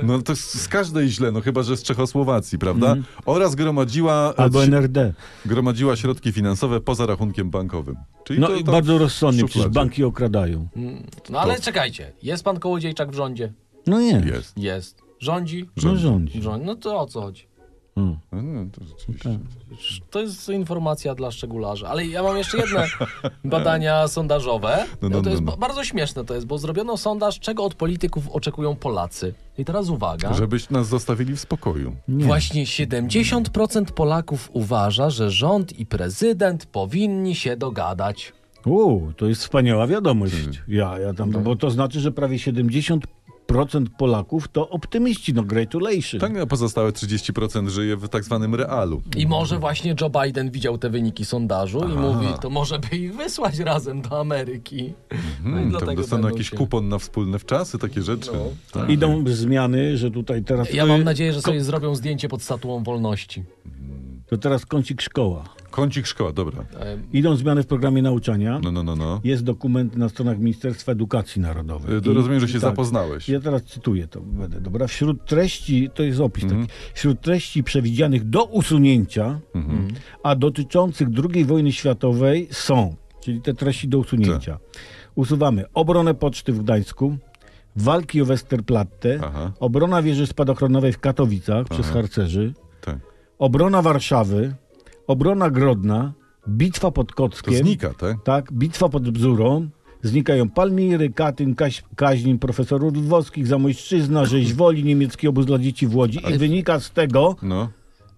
[SPEAKER 2] No to z z każdej źle, no chyba, że z Czechosłowacji, prawda? Oraz gromadziła,
[SPEAKER 3] Mhm. Albo
[SPEAKER 2] śr-
[SPEAKER 3] NRD.
[SPEAKER 2] gromadziła środki finansowe poza rachunkiem bankowym. Czyli
[SPEAKER 3] No
[SPEAKER 2] to, tak
[SPEAKER 3] i
[SPEAKER 2] to
[SPEAKER 3] bardzo rozsądnie, przecież
[SPEAKER 2] szufladzie.
[SPEAKER 3] banki okradają.
[SPEAKER 1] No ale czekajcie, jest pan Kołodziejczak w rządzie?
[SPEAKER 3] No nie,
[SPEAKER 2] Jest.
[SPEAKER 1] Jest. Rządzi?
[SPEAKER 3] no rządzi.
[SPEAKER 1] Rządzi. No to o co chodzi?
[SPEAKER 2] No, no, to rzeczywiście.
[SPEAKER 1] To jest informacja dla szczegularzy. Ale ja mam jeszcze jedne badania sondażowe. No,
[SPEAKER 2] No, no,
[SPEAKER 1] to
[SPEAKER 2] no,
[SPEAKER 1] jest
[SPEAKER 2] no.
[SPEAKER 1] ba- bardzo śmieszne to jest, bo zrobiono sondaż, czego od polityków oczekują Polacy. I teraz uwaga.
[SPEAKER 3] Tak.
[SPEAKER 2] Żebyś nas zostawili w spokoju.
[SPEAKER 1] Właśnie 70% Polaków uważa, że rząd i prezydent powinni się dogadać.
[SPEAKER 3] O, to jest wspaniała wiadomość. Ja, ja
[SPEAKER 2] No.
[SPEAKER 3] tam, bo to znaczy, że prawie 70% Polaków to optymiści, no gratulation.
[SPEAKER 2] Tak, a pozostałe 30% żyje w tak zwanym realu.
[SPEAKER 1] I może właśnie Joe Biden widział te wyniki sondażu i mówi, to może by ich wysłać razem do Ameryki.
[SPEAKER 3] Mhm,
[SPEAKER 1] No i
[SPEAKER 2] Hmm, tam
[SPEAKER 1] dlatego
[SPEAKER 2] dostaną
[SPEAKER 1] będą
[SPEAKER 2] jakiś
[SPEAKER 1] się- No.
[SPEAKER 2] kupon na wspólne wczasy, takie rzeczy. Tak.
[SPEAKER 3] Idą zmiany, że tutaj teraz...
[SPEAKER 1] Ja mam nadzieję, że sobie zrobią zdjęcie pod statuą wolności.
[SPEAKER 3] To teraz kącik szkoła.
[SPEAKER 2] Kącik szkoła, dobra.
[SPEAKER 1] Tak.
[SPEAKER 3] Idą zmiany w programie nauczania.
[SPEAKER 2] No, no, no, no.
[SPEAKER 3] Jest dokument na stronach Ministerstwa Edukacji Narodowej.
[SPEAKER 2] Y, to rozumiem, że
[SPEAKER 3] i
[SPEAKER 2] się zapoznałeś.
[SPEAKER 3] Ja teraz cytuję to, będę, dobra? Wśród treści, to jest opis taki,
[SPEAKER 2] Mhm.
[SPEAKER 3] wśród treści przewidzianych do usunięcia,
[SPEAKER 2] Mhm.
[SPEAKER 3] a dotyczących II wojny światowej są, czyli te treści do usunięcia.
[SPEAKER 2] Tak.
[SPEAKER 3] Usuwamy obronę poczty w Gdańsku, walki o Westerplatte,
[SPEAKER 2] Aha.
[SPEAKER 3] obrona wieży spadochronowej w Katowicach przez harcerzy,
[SPEAKER 2] Tak.
[SPEAKER 3] obrona Warszawy, obrona Grodna, bitwa pod
[SPEAKER 2] To
[SPEAKER 3] Kockiem.
[SPEAKER 2] znika, tak?
[SPEAKER 3] Tak, bitwa pod Bzurą. Znikają Palmiry, Katyn, Kaś, Kaźnin, profesor Rudwowskich, Zamojszczyzna, Rzeź Woli, niemiecki obóz dla dzieci w Łodzi. I wynika z tego,
[SPEAKER 2] No.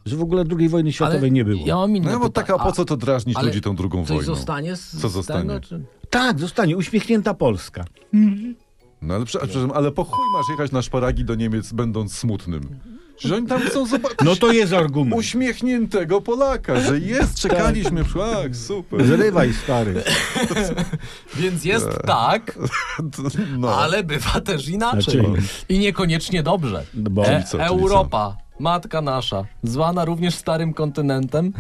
[SPEAKER 3] że w ogóle II wojny światowej nie było.
[SPEAKER 1] Ja mam inne
[SPEAKER 2] No bo
[SPEAKER 1] pytanie.
[SPEAKER 2] taka, po co
[SPEAKER 1] A
[SPEAKER 2] to drażnić
[SPEAKER 1] ale
[SPEAKER 2] ludzi tą drugą
[SPEAKER 1] coś
[SPEAKER 2] wojną?
[SPEAKER 1] zostanie z
[SPEAKER 2] Co zostanie?
[SPEAKER 1] Tego, czy...
[SPEAKER 3] Tak, zostanie uśmiechnięta Polska.
[SPEAKER 2] No ale prze- przepraszam, ale po chuj masz jechać na szparagi do Niemiec będąc smutnym. Że oni tam chcą zobaczyć
[SPEAKER 3] No to jest argument.
[SPEAKER 2] uśmiechniętego Polaka, że jest, czekaliśmy, tak, super.
[SPEAKER 3] Zrywaj, stary.
[SPEAKER 1] Więc
[SPEAKER 2] E.
[SPEAKER 1] jest tak,
[SPEAKER 2] No.
[SPEAKER 1] ale bywa też inaczej.
[SPEAKER 3] Znaczy-
[SPEAKER 1] I niekoniecznie dobrze. E,
[SPEAKER 3] Bo-
[SPEAKER 2] Czyli co, czyli
[SPEAKER 1] Europa, matka nasza, zwana również starym kontynentem,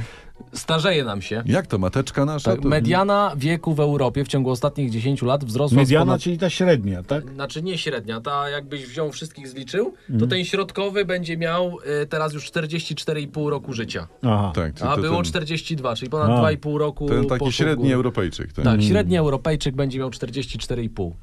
[SPEAKER 1] starzeje nam się.
[SPEAKER 2] Jak to, mateczka nasza?
[SPEAKER 1] Tak,
[SPEAKER 2] No To...
[SPEAKER 1] mediana wieku w Europie w ciągu ostatnich 10 lat wzrosła z
[SPEAKER 3] Mediana,
[SPEAKER 1] ponad...
[SPEAKER 3] czyli ta średnia, tak?
[SPEAKER 1] Znaczy nie średnia, ta jakbyś wziął wszystkich zliczył,
[SPEAKER 2] Mhm.
[SPEAKER 1] to ten środkowy będzie miał e, teraz już 44,5 roku życia.
[SPEAKER 3] Aha.
[SPEAKER 2] Tak, czyli
[SPEAKER 1] A
[SPEAKER 2] to
[SPEAKER 1] było
[SPEAKER 2] ten,
[SPEAKER 1] 42, czyli ponad
[SPEAKER 3] A.
[SPEAKER 1] 2,5 roku.
[SPEAKER 2] ten
[SPEAKER 1] poszło
[SPEAKER 2] taki
[SPEAKER 1] w
[SPEAKER 2] średni
[SPEAKER 1] górę.
[SPEAKER 2] Europejczyk. Tak.
[SPEAKER 1] Tak, średni Europejczyk będzie miał 44,5.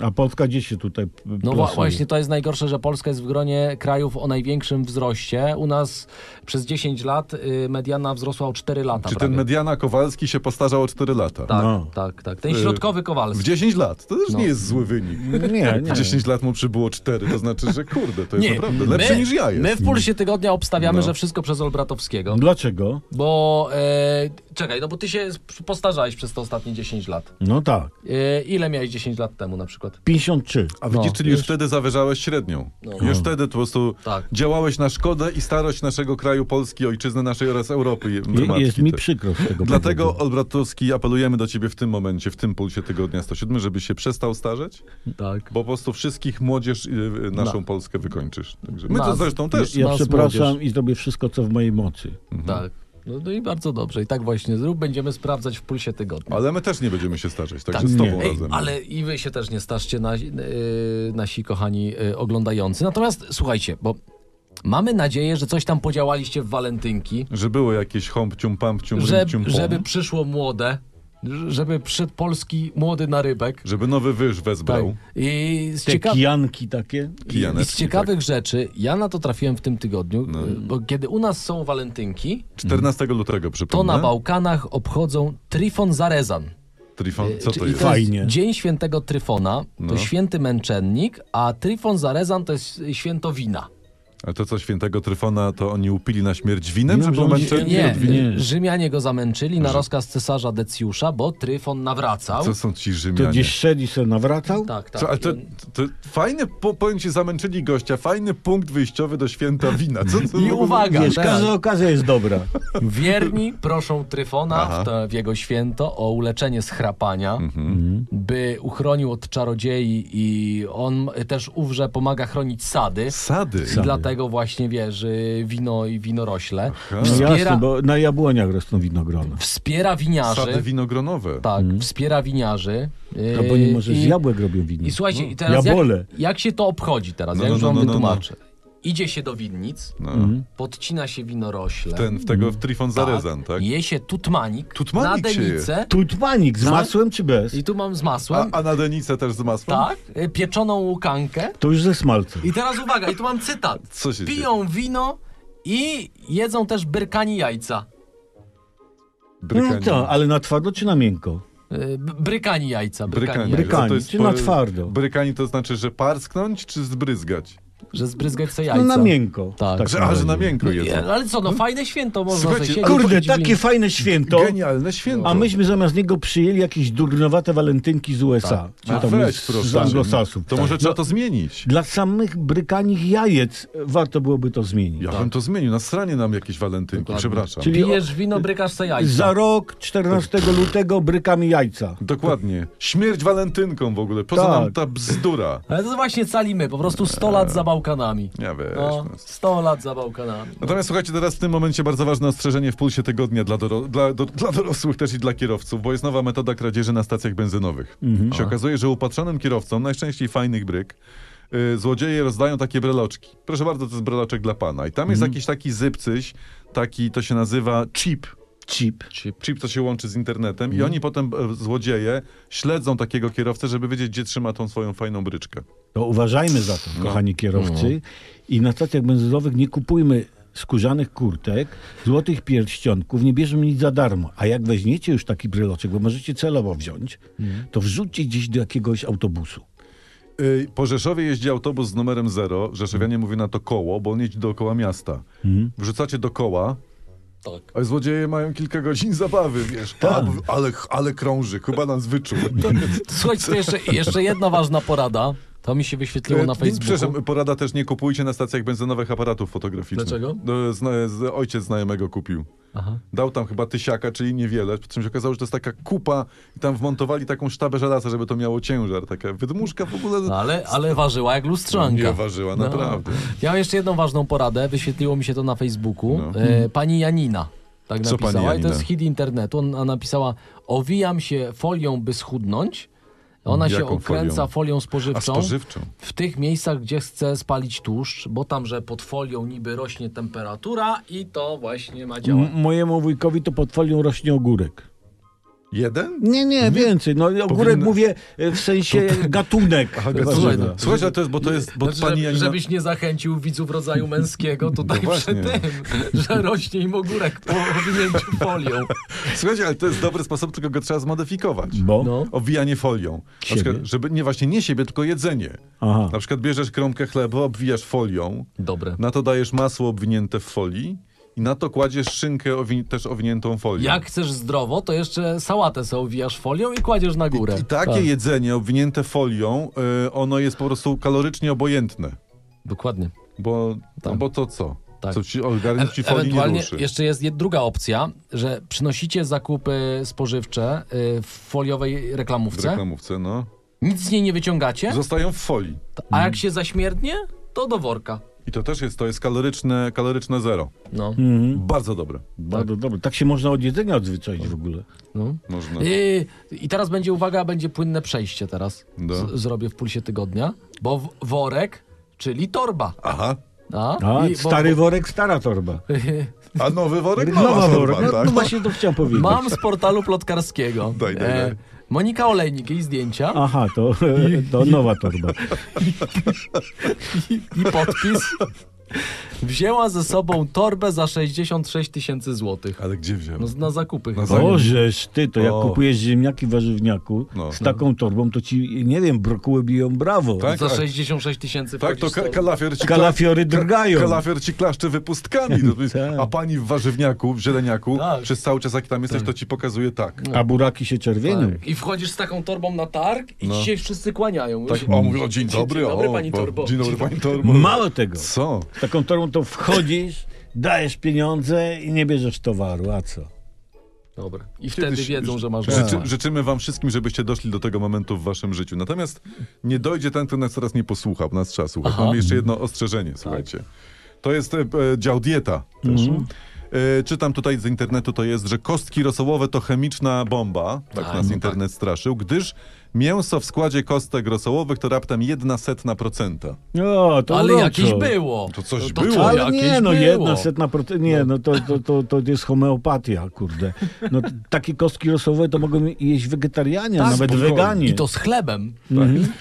[SPEAKER 3] A Polska gdzie się tutaj p-
[SPEAKER 1] No wa-
[SPEAKER 3] plasuje?
[SPEAKER 1] właśnie to jest najgorsze, że Polska jest w gronie krajów o największym wzroście. U nas przez 10 lat y, mediana wzrosła o 4 lata.
[SPEAKER 2] Czy ten
[SPEAKER 1] prawie.
[SPEAKER 2] Mediana Kowalski się postarzał o 4 lata? Y,
[SPEAKER 1] Tak,
[SPEAKER 3] No.
[SPEAKER 1] tak, tak. Ten środkowy
[SPEAKER 2] W
[SPEAKER 1] Kowalski.
[SPEAKER 2] 10 lat. To też
[SPEAKER 1] No.
[SPEAKER 2] nie jest zły wynik.
[SPEAKER 3] Nie,
[SPEAKER 2] W
[SPEAKER 3] nie.
[SPEAKER 2] 10 lat mu przybyło 4, to znaczy, że kurde, to jest naprawdę lepszy
[SPEAKER 1] my,
[SPEAKER 2] niż ja jest.
[SPEAKER 1] My w Pulsie Tygodnia obstawiamy,
[SPEAKER 2] No.
[SPEAKER 1] że wszystko przez Olbratowskiego.
[SPEAKER 3] Dlaczego?
[SPEAKER 1] Bo, e, czekaj, no bo ty się sp- postarzałeś przez te ostatnie 10 lat.
[SPEAKER 3] No tak.
[SPEAKER 1] E, ile miałeś 10 lat temu na przykład?
[SPEAKER 3] 53.
[SPEAKER 2] A widzisz,
[SPEAKER 1] No,
[SPEAKER 2] czyli już wtedy zawyżałeś średnią. Już wtedy po prostu
[SPEAKER 1] Tak.
[SPEAKER 2] działałeś na szkodę i starość naszego kraju, Polski, ojczyzny naszej oraz Europy. je-
[SPEAKER 3] Je,
[SPEAKER 2] matki
[SPEAKER 3] jest mi
[SPEAKER 2] też.
[SPEAKER 3] przykro z tego
[SPEAKER 2] Dlatego,
[SPEAKER 3] powodu.
[SPEAKER 2] Olbratowski, apelujemy do ciebie w tym momencie, w tym pulsie tygodnia 107, żebyś się przestał starzeć,
[SPEAKER 1] Tak.
[SPEAKER 2] bo po prostu wszystkich młodzież y, y, naszą
[SPEAKER 1] No.
[SPEAKER 2] Polskę wykończysz. Także my to
[SPEAKER 1] Nas.
[SPEAKER 2] zresztą też.
[SPEAKER 3] Ja
[SPEAKER 1] nas
[SPEAKER 3] przepraszam
[SPEAKER 1] młodzież.
[SPEAKER 3] i zrobię wszystko, co w mojej mocy.
[SPEAKER 2] Mhm.
[SPEAKER 1] Tak. No, no i bardzo dobrze. I tak właśnie zrób. Będziemy sprawdzać w Pulsie Tygodnia.
[SPEAKER 2] Ale my też nie będziemy się starzeć, także
[SPEAKER 1] Tak.
[SPEAKER 2] z tobą
[SPEAKER 3] Nie.
[SPEAKER 1] Ej,
[SPEAKER 2] razem. no.
[SPEAKER 1] ale i wy się też nie starzcie, nasi, yy, nasi kochani yy, oglądający. Natomiast słuchajcie, bo mamy nadzieję, że coś tam podziałaliście w walentynki,
[SPEAKER 2] Że było jakieś hąbcium, pampcium,
[SPEAKER 1] że,
[SPEAKER 2] rymcium, pom.
[SPEAKER 1] żeby przyszło młode. ż- żeby przyszedł polski młody narybek.
[SPEAKER 2] Żeby nowy wyż
[SPEAKER 1] Tak.
[SPEAKER 2] wezbrał.
[SPEAKER 1] I z
[SPEAKER 3] Te
[SPEAKER 1] ciekaw...
[SPEAKER 3] kijanki takie.
[SPEAKER 1] I z
[SPEAKER 2] Kijaneczki,
[SPEAKER 1] ciekawych rzeczy, ja na to trafiłem w tym tygodniu,
[SPEAKER 2] No.
[SPEAKER 1] y, bo kiedy u nas są walentynki,
[SPEAKER 2] tak. 14 lutego,
[SPEAKER 1] to
[SPEAKER 2] przypomnę.
[SPEAKER 1] na Bałkanach obchodzą Trifon Zarezan.
[SPEAKER 2] Trifon, co
[SPEAKER 1] e, Czy-
[SPEAKER 2] to
[SPEAKER 1] i tak.
[SPEAKER 2] jest?
[SPEAKER 3] jest- Fajnie.
[SPEAKER 1] Dzień świętego Tryfona, to
[SPEAKER 2] No.
[SPEAKER 1] święty męczennik, a Tryfon Zarezan to jest święto wina.
[SPEAKER 2] Ale to co świętego Tryfona, to oni upili na śmierć winem,
[SPEAKER 3] Nie,
[SPEAKER 2] czy
[SPEAKER 3] że
[SPEAKER 2] był
[SPEAKER 3] oni-
[SPEAKER 2] męczennik?
[SPEAKER 1] Nie,
[SPEAKER 3] wina.
[SPEAKER 1] y, Rzymianie go zamęczyli na rozkaz cesarza Decjusza, bo Tryfon nawracał.
[SPEAKER 2] Co są ci
[SPEAKER 3] To
[SPEAKER 2] Rzymianie?
[SPEAKER 3] gdzieś szedł i se nawracał?
[SPEAKER 1] Tak, tak.
[SPEAKER 2] Co, ale to, to fajny, po, powiem ci, zamęczyli gościa, fajny punkt wyjściowy do święta wina. Co, co
[SPEAKER 1] I uwaga, tak.
[SPEAKER 3] Wiesz,
[SPEAKER 1] teraz.
[SPEAKER 3] każda okazja jest dobra.
[SPEAKER 1] Wierni proszą Tryfona
[SPEAKER 2] Aha.
[SPEAKER 1] w, to, w jego święto o uleczenie schrapania,
[SPEAKER 2] Mhm.
[SPEAKER 1] by uchronił od czarodziei i on też ówrze pomaga chronić sady.
[SPEAKER 2] Sady.
[SPEAKER 1] I dlatego właśnie wierzy wino i winorośle.
[SPEAKER 3] No Jasne,
[SPEAKER 1] Wspiera,
[SPEAKER 3] bo na jabłoniach rosną winogrona.
[SPEAKER 1] wspiera
[SPEAKER 2] Sady
[SPEAKER 1] winiarzy.
[SPEAKER 2] winogronowe.
[SPEAKER 1] Tak, wspiera winiarzy. yy,
[SPEAKER 3] A bo Mhm. nie może z
[SPEAKER 1] i-
[SPEAKER 3] jabłek robią wino.
[SPEAKER 1] I słuchajcie, i teraz jak,
[SPEAKER 3] Jabole.
[SPEAKER 1] jak się to obchodzi teraz?
[SPEAKER 2] No,
[SPEAKER 1] ja
[SPEAKER 2] no,
[SPEAKER 1] już
[SPEAKER 2] no,
[SPEAKER 1] wam
[SPEAKER 2] no, no, no.
[SPEAKER 1] wytłumaczę. Idzie się do winnic,
[SPEAKER 2] No.
[SPEAKER 3] Mhm.
[SPEAKER 1] podcina się winorośle.
[SPEAKER 2] Ten, w tego w Trifon Zarezan, tak?
[SPEAKER 1] Je się tutmanik,
[SPEAKER 2] Tutmanik
[SPEAKER 1] na
[SPEAKER 2] się je.
[SPEAKER 1] denicę.
[SPEAKER 3] Tutmanik z
[SPEAKER 1] Tak?
[SPEAKER 3] masłem czy bez?
[SPEAKER 1] I tu mam z
[SPEAKER 2] A,
[SPEAKER 1] masłem.
[SPEAKER 2] a na denicę też z masłem?
[SPEAKER 1] Tak, y, pieczoną łukankę.
[SPEAKER 3] To już ze smalcem.
[SPEAKER 1] I teraz uwaga, i tu mam cytat.
[SPEAKER 2] Co się
[SPEAKER 1] Piją wino i jedzą też byrkani jajca.
[SPEAKER 3] No
[SPEAKER 2] Brykanie.
[SPEAKER 3] to, ale na twardo czy na miękko?
[SPEAKER 1] Y, b- Brykani jajca, brykani.
[SPEAKER 2] Brykanie.
[SPEAKER 1] jajca.
[SPEAKER 3] Brykanie,
[SPEAKER 2] To jest
[SPEAKER 3] czy na
[SPEAKER 2] po-
[SPEAKER 3] twardo?
[SPEAKER 2] Brykanie to znaczy, że parsknąć czy zbryzgać?
[SPEAKER 1] Że zbryzgać sobie jajca.
[SPEAKER 3] No na miękko.
[SPEAKER 1] Tak.
[SPEAKER 3] w
[SPEAKER 2] Że,
[SPEAKER 3] takim
[SPEAKER 2] a, że na
[SPEAKER 3] razie.
[SPEAKER 2] miękko jest.
[SPEAKER 1] Nie, Ale co, no fajne święto można
[SPEAKER 2] Słuchajcie,
[SPEAKER 1] sobie siedzieć,
[SPEAKER 3] Kurde,
[SPEAKER 1] pić
[SPEAKER 3] takie
[SPEAKER 1] wino.
[SPEAKER 3] fajne święto,
[SPEAKER 2] Genialne święto.
[SPEAKER 3] a myśmy zamiast niego przyjęli jakieś durnowate walentynki z USA. Czy
[SPEAKER 2] Tak. A
[SPEAKER 3] tam
[SPEAKER 2] No weź,
[SPEAKER 3] z,
[SPEAKER 2] proszę.
[SPEAKER 3] z No anglosasów.
[SPEAKER 2] To może trzeba to zmienić.
[SPEAKER 3] Dla samych brykanich jajec e, warto byłoby to zmienić.
[SPEAKER 2] Ja
[SPEAKER 1] Tak.
[SPEAKER 2] bym to zmienił. Na stronie nam jakieś walentynki, przepraszam.
[SPEAKER 3] Czyli
[SPEAKER 1] Pijesz wino, brykasz sobie jajca.
[SPEAKER 3] Za rok, 14 lutego, brykamy jajca.
[SPEAKER 2] Dokładnie. Śmierć walentynką w ogóle. Po co
[SPEAKER 3] Tak.
[SPEAKER 2] nam ta bzdura?
[SPEAKER 1] Ale to właśnie cali my, po prostu 100 lat za Bałkanami.
[SPEAKER 2] Ja wiesz.
[SPEAKER 1] No,
[SPEAKER 2] No.
[SPEAKER 1] 100 lat za Bałkanami.
[SPEAKER 2] Natomiast słuchajcie, teraz w tym momencie bardzo ważne ostrzeżenie w pulsie tygodnia dla, doro- dla, do- dla dorosłych też i dla kierowców, bo jest nowa metoda kradzieży na stacjach benzynowych. Się okazuje, że upatrzonym kierowcom, najczęściej fajnych bryk, yy, złodzieje rozdają takie breloczki. Proszę bardzo, to jest breloczek dla pana. I tam jest jakiś taki zypcyś, taki to się nazywa chip.
[SPEAKER 3] Chip.
[SPEAKER 2] chip, co się łączy z internetem i oni potem, e, złodzieje, śledzą takiego kierowcę, żeby wiedzieć, gdzie trzyma tą swoją fajną bryczkę.
[SPEAKER 3] To uważajmy za to,
[SPEAKER 2] No.
[SPEAKER 3] kochani kierowcy. I na stacjach benzynowych nie kupujmy skórzanych kurtek, złotych pierścionków, nie bierzmy nic za darmo. A jak weźmiecie już taki bryloczek, bo możecie celowo wziąć,
[SPEAKER 2] Mhm.
[SPEAKER 3] to wrzućcie gdzieś do jakiegoś autobusu.
[SPEAKER 2] Y, Po Rzeszowie jeździ autobus z numerem 0. Rzeszowianie mówi na to koło, bo on jeździ dookoła miasta.
[SPEAKER 1] Mhm.
[SPEAKER 2] Wrzucacie do koła,
[SPEAKER 1] Tak.
[SPEAKER 2] a złodzieje mają kilka godzin zabawy, wiesz. A, ale, ale krąży, chyba nas wyczuł.
[SPEAKER 1] Słuchajcie, to jeszcze, jeszcze jedna ważna porada. To mi się wyświetliło
[SPEAKER 2] E,
[SPEAKER 1] na
[SPEAKER 2] nie,
[SPEAKER 1] Facebooku.
[SPEAKER 2] Przepraszam, porada też nie kupujcie na stacjach benzynowych aparatów fotograficznych.
[SPEAKER 1] Dlaczego?
[SPEAKER 2] E, Zna, z, ojciec znajomego kupił.
[SPEAKER 1] Aha.
[SPEAKER 2] Dał tam chyba tysiaka, czyli niewiele, po czym się okazało, że to jest taka kupa i tam wmontowali taką sztabę żelaza, żeby to miało ciężar. Taka wydmuszka w ogóle
[SPEAKER 1] No, ale, ale ważyła jak lustrzanka. No.
[SPEAKER 2] nie ważyła, naprawdę.
[SPEAKER 1] Ja mam jeszcze jedną ważną poradę, wyświetliło mi się to na Facebooku.
[SPEAKER 2] No.
[SPEAKER 1] E, pani Janina tak
[SPEAKER 2] Co pani
[SPEAKER 1] napisała i
[SPEAKER 2] Janina?
[SPEAKER 1] to jest hit internetu. Ona napisała, owijam się folią, by schudnąć. Ona się
[SPEAKER 2] Jaką
[SPEAKER 1] okręca
[SPEAKER 2] folią?
[SPEAKER 1] folią, spożywczą,
[SPEAKER 2] A spożywczą.
[SPEAKER 1] w tych miejscach, gdzie chce spalić tłuszcz, bo tam, że pod folią niby rośnie temperatura i to właśnie ma działać.
[SPEAKER 2] Mm,
[SPEAKER 3] M- mojemu wujkowi to pod folią rośnie ogórek.
[SPEAKER 2] Jeden?
[SPEAKER 3] Nie, nie, więcej. No, ogórek
[SPEAKER 2] Powinno-
[SPEAKER 3] mówię e, w sensie gatunek. warzywa.
[SPEAKER 1] Słuchaj, no,
[SPEAKER 2] Słuchaj, słuchaj, ale to jest, bo to jest, bo
[SPEAKER 1] Znaczy,
[SPEAKER 2] pani
[SPEAKER 1] żeby-
[SPEAKER 2] Janina... No
[SPEAKER 1] Żebyś nie zachęcił widzów rodzaju męskiego tutaj przy
[SPEAKER 2] właśnie.
[SPEAKER 1] tym, że rośnie im ogórek po owinięciu folią.
[SPEAKER 2] Słuchajcie, ale to jest dobry sposób, tylko go trzeba zmodyfikować.
[SPEAKER 3] Bo?
[SPEAKER 1] No.
[SPEAKER 2] Owijanie folią. Na
[SPEAKER 3] Siebie?
[SPEAKER 2] przykład, żeby nie właśnie nie siebie, tylko jedzenie.
[SPEAKER 3] Aha.
[SPEAKER 2] Na przykład bierzesz kromkę chleba, obwijasz folią,
[SPEAKER 1] Dobre.
[SPEAKER 2] na to dajesz masło obwinięte w folii i na to kładziesz szynkę owi- też owiniętą folią.
[SPEAKER 1] Jak chcesz zdrowo, to jeszcze sałatę sobie owijasz folią i kładziesz na górę.
[SPEAKER 2] I takie
[SPEAKER 1] Tak,
[SPEAKER 2] jedzenie obwinięte folią, y, ono jest po prostu kalorycznie obojętne.
[SPEAKER 1] Dokładnie.
[SPEAKER 2] Bo, no bo to co?
[SPEAKER 1] Tak.
[SPEAKER 2] Co ci organizm ci folii nie
[SPEAKER 1] Ewentualnie
[SPEAKER 2] ruszy.
[SPEAKER 1] jeszcze jest jed- druga opcja, że przynosicie zakupy spożywcze y, w foliowej
[SPEAKER 2] W
[SPEAKER 1] reklamówce,
[SPEAKER 2] reklamówce, no.
[SPEAKER 1] nic z niej nie wyciągacie,
[SPEAKER 2] Zostają w folii.
[SPEAKER 1] a jak się zaśmierdnie, to do worka.
[SPEAKER 2] I to też jest, to jest kaloryczne, kaloryczne zero.
[SPEAKER 1] No.
[SPEAKER 2] Hmm. Bardzo dobre.
[SPEAKER 3] Bardzo dobrze. Tak się można od jedzenia odzwyczaić w ogóle.
[SPEAKER 1] no.
[SPEAKER 2] Można.
[SPEAKER 1] I, I teraz będzie uwaga, będzie płynne przejście teraz.
[SPEAKER 2] No.
[SPEAKER 1] Z, zrobię w pulsie tygodnia, bo w, worek, czyli torba.
[SPEAKER 2] Aha.
[SPEAKER 1] A,
[SPEAKER 3] A,
[SPEAKER 1] I- bo-
[SPEAKER 3] stary
[SPEAKER 1] bo-
[SPEAKER 3] worek, stara torba.
[SPEAKER 2] A nowy worek, nowa,
[SPEAKER 3] Nowa
[SPEAKER 2] torba,
[SPEAKER 3] worek. No,
[SPEAKER 2] tak?
[SPEAKER 3] no właśnie to chciałem powiedzieć.
[SPEAKER 1] Mam z portalu plotkarskiego. E,
[SPEAKER 2] Daj, daj, daj.
[SPEAKER 1] Monika Olejnik, jej zdjęcia
[SPEAKER 3] Aha, to, to nowa torba.
[SPEAKER 1] i podpis. Wzięła ze sobą torbę za 66 tysięcy złotych.
[SPEAKER 2] Ale gdzie wziął?
[SPEAKER 1] No, na zakupy.
[SPEAKER 2] No,
[SPEAKER 1] chyba.
[SPEAKER 2] za-
[SPEAKER 3] Bożeż ty, to jak
[SPEAKER 2] O.
[SPEAKER 3] kupujesz ziemniaki w warzywniaku
[SPEAKER 2] No.
[SPEAKER 3] z taką torbą, to ci, nie wiem, brokuły biją brawo.
[SPEAKER 2] Tak?
[SPEAKER 1] za 66 tysięcy
[SPEAKER 2] Tak, to
[SPEAKER 1] wchodzisz
[SPEAKER 2] ka-
[SPEAKER 1] z torbą.
[SPEAKER 2] kalafior ci,
[SPEAKER 3] Kalafiory
[SPEAKER 2] kla-
[SPEAKER 3] drgają.
[SPEAKER 2] Kalafior ci klaszczy wypustkami. No to jest-
[SPEAKER 3] Tak.
[SPEAKER 2] A pani w warzywniaku, w zieleniaku,
[SPEAKER 1] Tak.
[SPEAKER 2] przez cały czas jak tam jesteś, to ci pokazuje tak.
[SPEAKER 3] A buraki się czerwienią.
[SPEAKER 1] Tak. I wchodzisz z taką torbą na targ i ci się wszyscy kłaniają.
[SPEAKER 2] No. Tak,
[SPEAKER 1] Już-
[SPEAKER 2] o, mówię, o, dzień dobry.
[SPEAKER 1] Dzień dobry,
[SPEAKER 2] o,
[SPEAKER 1] pani
[SPEAKER 2] bo-
[SPEAKER 1] Torbo.
[SPEAKER 2] Dzień dobry, pani Torbo.
[SPEAKER 3] Mało tego, z
[SPEAKER 2] Co?
[SPEAKER 3] taką torbą to wchodzisz, dajesz pieniądze i nie bierzesz towaru, a co?
[SPEAKER 1] Dobra. I wtedy
[SPEAKER 2] Kiedyś-
[SPEAKER 1] wiedzą, że masz
[SPEAKER 2] Życzy,
[SPEAKER 1] rację.
[SPEAKER 2] życzymy wam wszystkim, żebyście doszli do tego momentu w waszym życiu. Natomiast nie dojdzie ten, kto nas teraz nie posłucha, bo nas trzeba słuchać.
[SPEAKER 1] Aha. Tak.
[SPEAKER 2] Mamy jeszcze jedno ostrzeżenie, słuchajcie. To jest e, e, dział dieta też.
[SPEAKER 1] Mhm.
[SPEAKER 2] E, czytam tutaj z internetu, to jest, że kostki rosołowe to chemiczna bomba, tak
[SPEAKER 1] Tak,
[SPEAKER 2] nas
[SPEAKER 1] no
[SPEAKER 2] internet straszył, gdyż mięso w składzie kostek rosołowych to raptem jedna setna procenta.
[SPEAKER 3] No, to
[SPEAKER 1] Ale
[SPEAKER 3] uroczo.
[SPEAKER 1] jakieś było.
[SPEAKER 2] To coś
[SPEAKER 1] to,
[SPEAKER 2] było.
[SPEAKER 1] To
[SPEAKER 3] Ale
[SPEAKER 1] jakieś
[SPEAKER 3] nie, no
[SPEAKER 1] było.
[SPEAKER 3] jedna setna prote... Nie, no to, to, to, to jest homeopatia, kurde. No, t- takie kostki rosowe to mogą jeść wegetarianie, a
[SPEAKER 1] Tak,
[SPEAKER 3] nawet
[SPEAKER 2] spokojnie.
[SPEAKER 3] weganie.
[SPEAKER 1] I to z chlebem.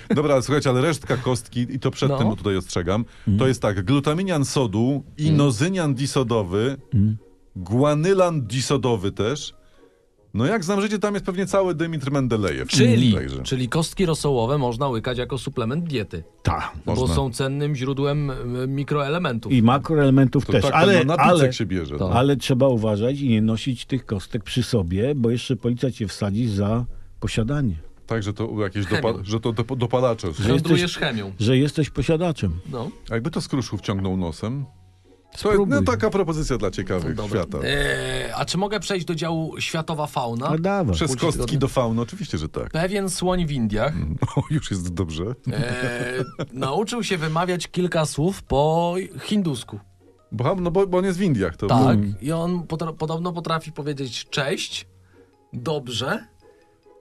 [SPEAKER 2] Tak. Dobra, ale słuchajcie, ale resztka kostki, i to
[SPEAKER 1] Mhm.
[SPEAKER 2] przed
[SPEAKER 1] No. Mhm.
[SPEAKER 2] tym bo tutaj ostrzegam, to jest tak, glutaminian sodu, inozynian disodowy,
[SPEAKER 1] Mhm.
[SPEAKER 2] guanylan disodowy też. No jak znam życie, tam jest pewnie cały Dymitr Mendelejew.
[SPEAKER 1] Czyli,
[SPEAKER 2] Także.
[SPEAKER 1] czyli kostki rosołowe można łykać jako suplement diety,
[SPEAKER 3] Ta.
[SPEAKER 1] bo
[SPEAKER 2] Można.
[SPEAKER 1] są cennym źródłem y, mikroelementów.
[SPEAKER 3] I makroelementów
[SPEAKER 2] To
[SPEAKER 3] też.
[SPEAKER 2] tak,
[SPEAKER 3] ale,
[SPEAKER 2] ale, no, na
[SPEAKER 3] ale,
[SPEAKER 2] ale, się bierze.
[SPEAKER 1] To.
[SPEAKER 2] No.
[SPEAKER 3] ale trzeba uważać i nie nosić tych kostek przy sobie, bo jeszcze policja cię wsadzi za posiadanie.
[SPEAKER 2] Także to jakieś
[SPEAKER 1] Chemią.
[SPEAKER 2] dopa- że to dop- dopalacze.
[SPEAKER 3] Że-
[SPEAKER 1] Handlujesz
[SPEAKER 3] jesteś-
[SPEAKER 1] chemią.
[SPEAKER 3] Że jesteś posiadaczem.
[SPEAKER 1] No.
[SPEAKER 2] A Jakby to z kruszu wciągnął nosem. To jest,
[SPEAKER 3] Spróbuj.
[SPEAKER 2] no, taka propozycja dla ciekawych świata.
[SPEAKER 1] E, a czy mogę przejść do działu światowa fauna?
[SPEAKER 2] No
[SPEAKER 3] A No dawaj.
[SPEAKER 2] Przez
[SPEAKER 1] Później
[SPEAKER 2] kostki
[SPEAKER 1] zgodnie.
[SPEAKER 2] do fauny, oczywiście, że tak.
[SPEAKER 1] Pewien słoń w Indiach
[SPEAKER 2] O, już jest dobrze.
[SPEAKER 1] e, nauczył się wymawiać kilka słów po hindusku.
[SPEAKER 2] Bo, no, bo, bo on jest w Indiach. To
[SPEAKER 1] Tak.
[SPEAKER 2] Mm.
[SPEAKER 1] I on potra- podobno potrafi powiedzieć cześć, dobrze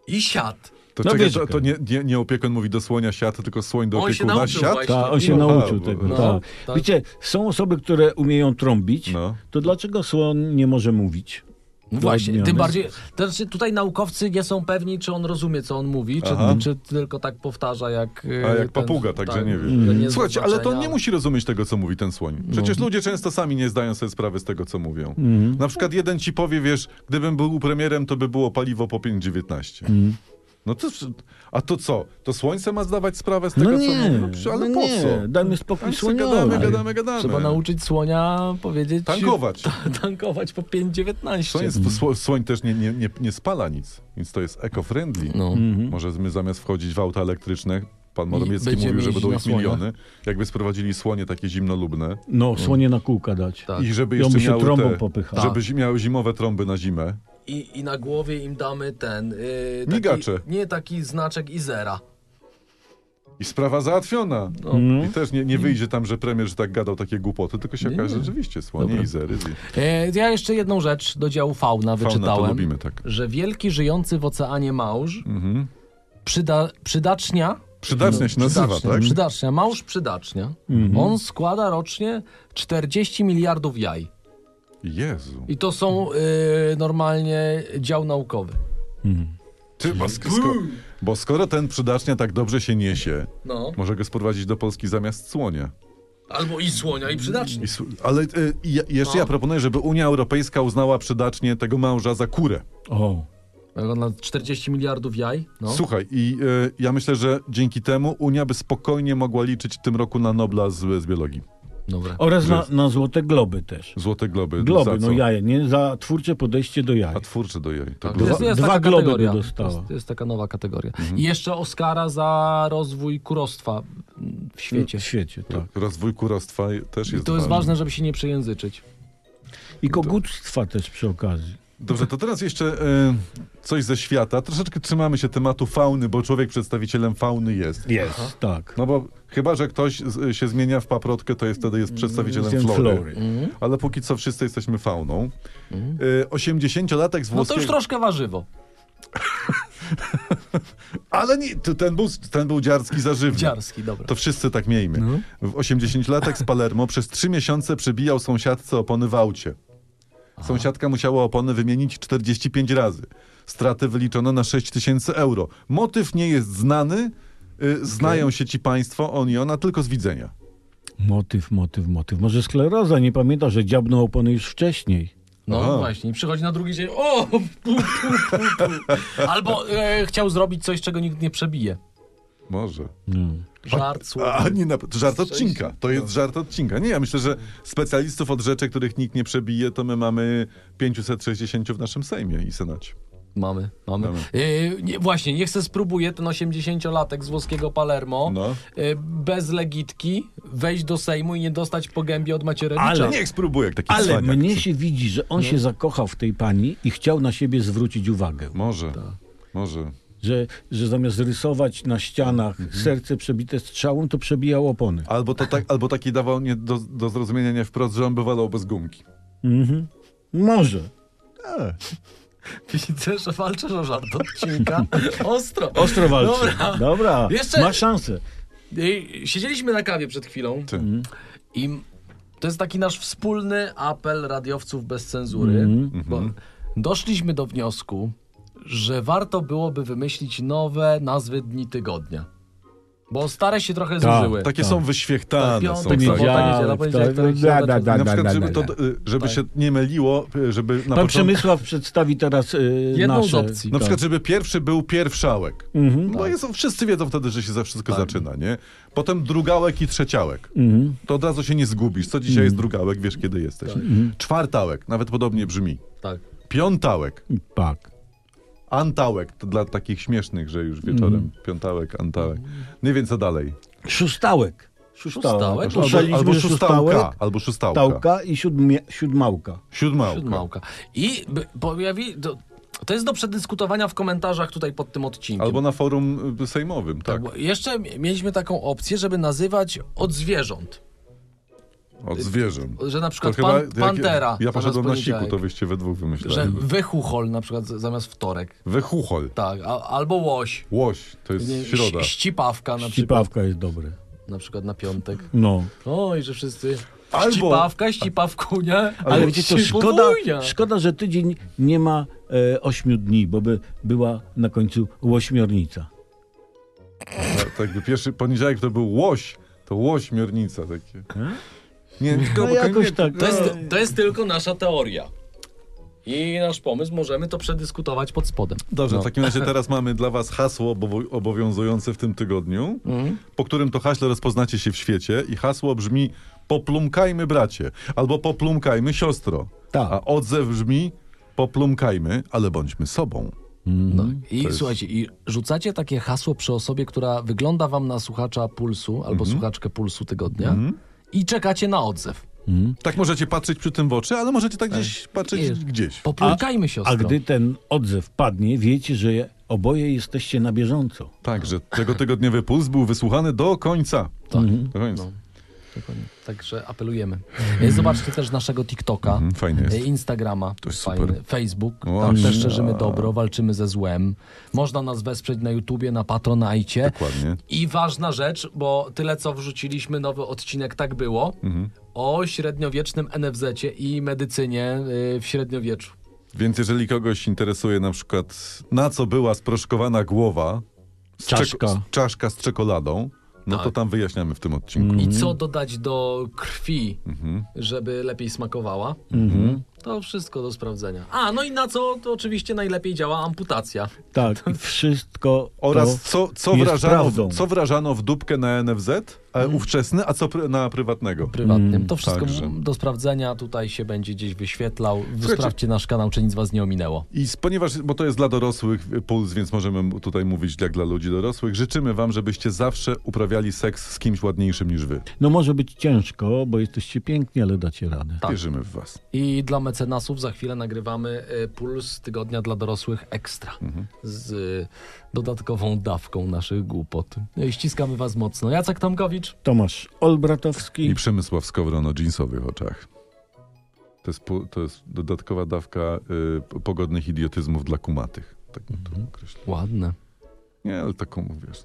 [SPEAKER 1] i siad.
[SPEAKER 2] To,
[SPEAKER 3] No
[SPEAKER 2] czekaj,
[SPEAKER 3] wiesz,
[SPEAKER 2] to, to nie, nie, nie opiekun mówi do słonia siat, tylko słoń do
[SPEAKER 1] On się
[SPEAKER 2] opiekuna
[SPEAKER 1] nauczył
[SPEAKER 2] siat?
[SPEAKER 1] właśnie.
[SPEAKER 3] Ta, on się
[SPEAKER 2] No,
[SPEAKER 3] nauczył
[SPEAKER 2] tak,
[SPEAKER 3] tego.
[SPEAKER 2] no,
[SPEAKER 3] tak.
[SPEAKER 1] tak.
[SPEAKER 3] Wiecie, są osoby, które umieją trąbić,
[SPEAKER 2] No.
[SPEAKER 3] to dlaczego słon nie może mówić?
[SPEAKER 1] No właśnie,
[SPEAKER 3] Odmiany.
[SPEAKER 1] tym bardziej. To znaczy, tutaj naukowcy nie są pewni, czy on rozumie, co on mówi, czy,
[SPEAKER 2] Aha.
[SPEAKER 1] czy tylko tak powtarza jak. e,
[SPEAKER 2] A jak papuga, także
[SPEAKER 1] tak,
[SPEAKER 2] nie wiem. Słuchajcie, ale to nie musi rozumieć tego, co mówi ten słoń. Przecież
[SPEAKER 3] No.
[SPEAKER 2] ludzie często sami nie zdają sobie sprawy z tego, co mówią.
[SPEAKER 3] Mhm.
[SPEAKER 2] Na przykład jeden ci powie, wiesz, gdybym był premierem, to by było paliwo po 5,19.
[SPEAKER 3] Mhm.
[SPEAKER 2] No to, a to co? To słońce ma zdawać sprawę z tego,
[SPEAKER 3] no
[SPEAKER 2] co
[SPEAKER 3] nie,
[SPEAKER 2] mówi? No, przy- ale
[SPEAKER 3] no
[SPEAKER 2] po
[SPEAKER 3] nie,
[SPEAKER 2] co?
[SPEAKER 3] dajmy spokój
[SPEAKER 2] Tam sobie gadamy,
[SPEAKER 3] słoniowi.
[SPEAKER 2] gadamy, gadamy.
[SPEAKER 1] Trzeba nauczyć słonia powiedzieć.
[SPEAKER 3] Tak.
[SPEAKER 2] Tankować.
[SPEAKER 1] tankować po 5,19.
[SPEAKER 2] Słoń, jest, sło, słoń też nie, nie, nie, nie spala nic, więc to jest eco-friendly.
[SPEAKER 1] No.
[SPEAKER 3] Mhm.
[SPEAKER 2] Może my zamiast wchodzić w auta elektryczne, pan Morawiecki
[SPEAKER 1] będziemy
[SPEAKER 2] mówił, że
[SPEAKER 1] jeździć
[SPEAKER 2] będą
[SPEAKER 1] na
[SPEAKER 2] ich
[SPEAKER 1] słoniach.
[SPEAKER 2] miliony, jakby sprowadzili słonie takie zimnolubne
[SPEAKER 3] No, słonie na kółka dać.
[SPEAKER 1] Tak.
[SPEAKER 2] i żeby
[SPEAKER 3] I on
[SPEAKER 2] jeszcze
[SPEAKER 3] by się
[SPEAKER 2] miały
[SPEAKER 3] trąbą
[SPEAKER 2] te,
[SPEAKER 3] popychał.
[SPEAKER 2] żeby zi- miały zimowe trąby na zimę.
[SPEAKER 1] I, I na głowie im damy ten. Yy, taki,
[SPEAKER 2] Migacze.
[SPEAKER 1] Nie taki znaczek Izera.
[SPEAKER 2] I sprawa załatwiona.
[SPEAKER 1] No.
[SPEAKER 2] I
[SPEAKER 3] Mhm.
[SPEAKER 2] też nie, nie
[SPEAKER 1] Mhm.
[SPEAKER 2] wyjdzie tam, że premier że tak gadał takie głupoty, tylko się okaże, że rzeczywiście słonie i zery. i-
[SPEAKER 1] E, ja jeszcze jedną rzecz do działu fauna
[SPEAKER 2] Fauna to
[SPEAKER 1] wyczytałem.
[SPEAKER 2] lubimy, tak.
[SPEAKER 1] Że wielki żyjący w oceanie małż przyda, przydacznia
[SPEAKER 2] Przydacznia się nazywa,
[SPEAKER 1] Przydacznia,
[SPEAKER 2] tak? Mhm.
[SPEAKER 1] Przydacznia, małż przydacznia. On składa rocznie 40 miliardów jaj.
[SPEAKER 2] Jezu.
[SPEAKER 1] I to są y, normalnie dział naukowy.
[SPEAKER 2] Ty, bo, sk- sko- bo skoro ten przydacznia tak dobrze się niesie,
[SPEAKER 1] No.
[SPEAKER 2] może go sprowadzić do Polski zamiast słonia.
[SPEAKER 1] Albo i słonia, i przydacznia.
[SPEAKER 2] I, su- ale y, i ja- jeszcze
[SPEAKER 1] No.
[SPEAKER 2] ja proponuję, żeby Unia Europejska uznała przydacznie tego męża za kurę.
[SPEAKER 3] O,
[SPEAKER 1] Jak on na 40 miliardów jaj? No.
[SPEAKER 2] Słuchaj, i y, ja myślę, że dzięki temu Unia by spokojnie mogła liczyć w tym roku na Nobla z, z biologii.
[SPEAKER 1] Dobra.
[SPEAKER 3] Oraz na, na złote globy też.
[SPEAKER 2] Złote globy.
[SPEAKER 3] Globy,
[SPEAKER 2] za co?
[SPEAKER 3] no jaje, nie? Za twórcze podejście do jaj.
[SPEAKER 2] A twórczy do jej. To
[SPEAKER 1] Tak,
[SPEAKER 2] glo-
[SPEAKER 1] jest, jest
[SPEAKER 3] dwa
[SPEAKER 1] taka
[SPEAKER 3] globy
[SPEAKER 1] kategoria.
[SPEAKER 3] by dostała. Mhm.
[SPEAKER 1] Jest, jest taka nowa kategoria. I jeszcze Oscara za rozwój kurostwa w świecie.
[SPEAKER 3] W świecie,
[SPEAKER 2] No
[SPEAKER 3] tak.
[SPEAKER 2] Rozwój kurostwa też
[SPEAKER 1] I
[SPEAKER 2] jest
[SPEAKER 1] to jest ważne, żeby się nie przejęzyczyć. No
[SPEAKER 3] I koguctwa też przy okazji.
[SPEAKER 2] Dobrze, to teraz jeszcze y, coś ze świata. Troszeczkę trzymamy się tematu fauny, bo człowiek przedstawicielem fauny jest.
[SPEAKER 3] Jest. Tak.
[SPEAKER 2] No bo chyba, że ktoś z, się zmienia w paprotkę, to jest wtedy
[SPEAKER 1] Mm,
[SPEAKER 2] jest przedstawicielem
[SPEAKER 3] Jestem
[SPEAKER 2] flory.
[SPEAKER 3] flory.
[SPEAKER 2] Ale póki co wszyscy jesteśmy fauną. Y, 80-latek z
[SPEAKER 1] Mm. No to
[SPEAKER 2] włoskiego...
[SPEAKER 1] już troszkę warzywo.
[SPEAKER 2] Ale nie, to ten, był, ten był dziarski zażywny.
[SPEAKER 1] Dziarski, dobra. No.
[SPEAKER 2] To wszyscy tak miejmy. W 80-latek z Palermo przez trzy miesiące przebijał sąsiadce opony w aucie. Sąsiadka musiała opony wymienić 45 razy. Straty wyliczono na 6 tysięcy euro. Motyw nie jest znany. Y, Znają się ci państwo, on i ona, tylko z widzenia.
[SPEAKER 3] Motyw, motyw, motyw. Może skleroza, nie pamięta, że dziabnął opony już wcześniej.
[SPEAKER 1] No
[SPEAKER 2] Aha.
[SPEAKER 1] właśnie, przychodzi na drugi dzień. O! Pu, pu, pu, pu. Albo e, chciał zrobić coś, czego nikt nie przebije.
[SPEAKER 2] Może.
[SPEAKER 1] Żart, słowo.
[SPEAKER 2] A, nie, na, to żart odcinka. To jest żart odcinka. Nie, ja myślę, że specjalistów od rzeczy, których nikt nie przebije, to my mamy 560 w naszym Sejmie i Senacie.
[SPEAKER 1] Mamy, mamy.
[SPEAKER 2] Mamy.
[SPEAKER 1] Yy, nie, właśnie, niech se spróbuje ten 80-latek z włoskiego Palermo
[SPEAKER 2] No.
[SPEAKER 1] yy, bez legitki wejść do Sejmu i nie dostać po gębie od Macierewicza.
[SPEAKER 3] Ale-
[SPEAKER 2] Niech spróbuję, Tak, jak No. taki
[SPEAKER 3] Ale
[SPEAKER 2] cwaniak.
[SPEAKER 3] mnie się widzi, że on się zakochał w tej pani i chciał na siebie zwrócić uwagę.
[SPEAKER 2] Może, może.
[SPEAKER 3] Że, że zamiast rysować na ścianach
[SPEAKER 2] Mhm.
[SPEAKER 3] serce przebite strzałą, to przebijał opony.
[SPEAKER 2] Albo, to tak, albo taki dawał nie do, do zrozumienia nie wprost, że on by walał bez gumki.
[SPEAKER 3] Może.
[SPEAKER 1] Widzę, że walczysz o żart odcinka. Ostro.
[SPEAKER 3] Ostro walczy. No.
[SPEAKER 1] Dobra.
[SPEAKER 3] Dobra,
[SPEAKER 1] Jeszcze-
[SPEAKER 3] ma szansę.
[SPEAKER 1] Yy, siedzieliśmy na kawie przed chwilą
[SPEAKER 2] Ty.
[SPEAKER 3] Mm.
[SPEAKER 1] i m- to jest taki nasz wspólny apel radiowców bez cenzury,
[SPEAKER 3] Mhm,
[SPEAKER 1] bo doszliśmy do wniosku, że warto byłoby wymyślić nowe nazwy dni tygodnia. Bo stare się trochę
[SPEAKER 3] Tak.
[SPEAKER 1] zużyły.
[SPEAKER 2] Takie są wyświechtane. są
[SPEAKER 1] Piątek,
[SPEAKER 2] takie.
[SPEAKER 1] sobota,
[SPEAKER 3] Poniedziałek,
[SPEAKER 1] niedziela,
[SPEAKER 3] Tak, to-
[SPEAKER 1] poniedziałek, to,
[SPEAKER 3] da, da, da.
[SPEAKER 2] na przykład, żeby, to, y,
[SPEAKER 3] Tak.
[SPEAKER 2] żeby się nie myliło, y, żeby na
[SPEAKER 3] Pan
[SPEAKER 2] początku...
[SPEAKER 3] Przemysław przedstawi teraz yy,
[SPEAKER 1] Jedną
[SPEAKER 3] nasze.
[SPEAKER 1] z opcji.
[SPEAKER 2] Na
[SPEAKER 3] Tak.
[SPEAKER 2] przykład, żeby pierwszy był pierwszałek.
[SPEAKER 1] Mhm.
[SPEAKER 2] bo
[SPEAKER 1] Tak.
[SPEAKER 2] jest, wszyscy wiedzą wtedy, że się za wszystko zaczyna, nie? Potem drugałek i trzeciałek.
[SPEAKER 1] Mhm.
[SPEAKER 2] To od razu się nie zgubisz. Co dzisiaj jest drugałek, wiesz kiedy jesteś.
[SPEAKER 1] Mhm.
[SPEAKER 2] Czwartałek, nawet podobnie brzmi.
[SPEAKER 1] Tak.
[SPEAKER 2] Piątałek,
[SPEAKER 3] Tak.
[SPEAKER 2] antałek, to dla takich śmiesznych, że już wieczorem.
[SPEAKER 1] Mhm.
[SPEAKER 2] Piątałek, antałek. Nie wiem co dalej.
[SPEAKER 3] Szóstałek.
[SPEAKER 1] Szóstałek?
[SPEAKER 3] Szóstałek.
[SPEAKER 1] Albo-
[SPEAKER 3] Ustaliliśmy,
[SPEAKER 2] albo
[SPEAKER 3] że
[SPEAKER 2] szóstałka, albo szóstałka.
[SPEAKER 3] Tałka i siódmie, siódmałka.
[SPEAKER 2] Siódmałka.
[SPEAKER 1] Siódmałka. I b- pojawi... To, to jest do przedyskutowania w komentarzach tutaj pod tym odcinkiem.
[SPEAKER 2] Albo na forum y, sejmowym, tak.
[SPEAKER 1] Bo Jeszcze mi- mieliśmy taką opcję, żeby nazywać od zwierząt.
[SPEAKER 2] Od zwierząt.
[SPEAKER 1] Że na przykład
[SPEAKER 2] To chyba
[SPEAKER 1] pan,
[SPEAKER 2] jak-
[SPEAKER 1] pantera.
[SPEAKER 2] Ja poszedłem na
[SPEAKER 1] zamiast
[SPEAKER 2] siku, to
[SPEAKER 1] poniedziałek.
[SPEAKER 2] wyście we dwóch
[SPEAKER 1] Że
[SPEAKER 2] wymyślali.
[SPEAKER 1] wychuchol na przykład z- zamiast wtorek.
[SPEAKER 2] Wechuchol.
[SPEAKER 1] Tak, a, albo łoś.
[SPEAKER 2] Łoś, to jest
[SPEAKER 1] Nie,
[SPEAKER 2] środa.
[SPEAKER 1] ś- Ścipawka na przykład,
[SPEAKER 3] Cipawka jest dobre.
[SPEAKER 1] na przykład na piątek.
[SPEAKER 3] No.
[SPEAKER 1] Oj, że wszyscy...
[SPEAKER 2] Albo-
[SPEAKER 1] Ścipawka, ścipawkunia,
[SPEAKER 3] Ale wiecie co, szkoda,
[SPEAKER 1] ścipowunia.
[SPEAKER 3] szkoda, że tydzień nie ma e, ośmiu dni, bo by była na końcu łośmiornica.
[SPEAKER 1] No
[SPEAKER 2] Tak, tak, jakby pierwszy poniedziałek to był łoś, to łośmiornica takie. Nie, tylko
[SPEAKER 3] No
[SPEAKER 2] bo-
[SPEAKER 3] jakoś
[SPEAKER 2] nie,
[SPEAKER 3] tak.
[SPEAKER 1] To jest, to jest tylko nasza teoria. I nasz pomysł, możemy to przedyskutować pod spodem.
[SPEAKER 2] Dobrze,
[SPEAKER 1] No.
[SPEAKER 2] w takim razie teraz mamy dla was hasło obowo- obowiązujące w tym tygodniu,
[SPEAKER 3] Mhm.
[SPEAKER 2] po którym to haśle rozpoznacie się w świecie i hasło brzmi poplumkajmy bracie, albo poplumkajmy siostro.
[SPEAKER 3] Tak.
[SPEAKER 2] A odzew brzmi poplumkajmy, ale bądźmy sobą.
[SPEAKER 1] No.
[SPEAKER 3] Mhm.
[SPEAKER 1] I słuchajcie, i rzucacie takie hasło przy osobie, która wygląda wam na słuchacza pulsu albo
[SPEAKER 3] Mhm.
[SPEAKER 1] słuchaczkę pulsu tygodnia i czekacie na odzew.
[SPEAKER 3] Mhm.
[SPEAKER 2] Tak możecie patrzeć przy tym w oczy, ale możecie tak gdzieś patrzeć
[SPEAKER 1] Nie.
[SPEAKER 2] gdzieś.
[SPEAKER 1] Popląkajmy siostro.
[SPEAKER 3] A gdy ten odzew padnie, wiecie, że oboje jesteście na bieżąco.
[SPEAKER 2] Tak, że tego tygodniowy puls był wysłuchany do końca. Mhm.
[SPEAKER 1] Tak.
[SPEAKER 2] Do końca.
[SPEAKER 3] No.
[SPEAKER 1] Dokładnie. Także apelujemy. Zobaczcie też naszego TikToka,
[SPEAKER 2] Mhm, fajny jest.
[SPEAKER 1] e, Instagrama,
[SPEAKER 2] To jest
[SPEAKER 1] fajny,
[SPEAKER 2] super.
[SPEAKER 1] Facebook.
[SPEAKER 2] Właśnie.
[SPEAKER 1] Tam też szerzymy dobro, walczymy ze złem. Można nas wesprzeć na YouTubie, na Patronajcie.
[SPEAKER 2] Dokładnie.
[SPEAKER 1] I ważna rzecz, bo tyle co wrzuciliśmy, nowy odcinek tak było,
[SPEAKER 2] Mhm.
[SPEAKER 1] o średniowiecznym NFZ-cie i medycynie y, w średniowieczu.
[SPEAKER 2] Więc jeżeli kogoś interesuje na przykład, na co była sproszkowana głowa, z
[SPEAKER 3] Czaszka. Tak.
[SPEAKER 2] czeko- z czaszka z czekoladą, no to tam wyjaśniamy w tym odcinku.
[SPEAKER 3] Mm.
[SPEAKER 1] I co dodać do krwi,
[SPEAKER 2] Mhm.
[SPEAKER 1] żeby lepiej smakowała. To wszystko do sprawdzenia. A, no i na co to oczywiście najlepiej działa amputacja.
[SPEAKER 3] Tak, i wszystko
[SPEAKER 2] Oraz
[SPEAKER 3] to
[SPEAKER 2] co, co,
[SPEAKER 3] jest
[SPEAKER 2] wrażano,
[SPEAKER 3] prawdą. Mm.
[SPEAKER 2] w- co wrażano w dupkę na NFZ, a e, ówczesny, a co pr- na prywatnego.
[SPEAKER 1] Prywatnym. to wszystko
[SPEAKER 2] Mm, także.
[SPEAKER 1] m, do sprawdzenia tutaj się będzie gdzieś wyświetlał.
[SPEAKER 2] Słuchajcie-
[SPEAKER 1] Sprawdźcie nasz kanał, czy nic was nie ominęło.
[SPEAKER 2] I s- ponieważ, bo to jest dla dorosłych e, puls, więc możemy m- tutaj mówić jak dla ludzi dorosłych, życzymy wam, żebyście zawsze uprawiali seks z kimś ładniejszym niż wy.
[SPEAKER 3] No może być ciężko, bo jesteście piękni, ale dacie radę.
[SPEAKER 2] Wierzymy w was.
[SPEAKER 1] I dla mecenasów za chwilę nagrywamy y, Puls Tygodnia dla Dorosłych Ekstra
[SPEAKER 2] Mhm.
[SPEAKER 1] z y, dodatkową dawką naszych głupot. Y, Ściskamy Was mocno. Jacek Tomkowicz.
[SPEAKER 3] Tomasz Olbratowski.
[SPEAKER 2] I Przemysław Skowron o dżinsowych oczach. To jest, pu- to jest dodatkowa dawka y, p- pogodnych idiotyzmów dla kumatych. Tak bym to określił.
[SPEAKER 1] Ładne.
[SPEAKER 2] Nie, ale taką mówisz.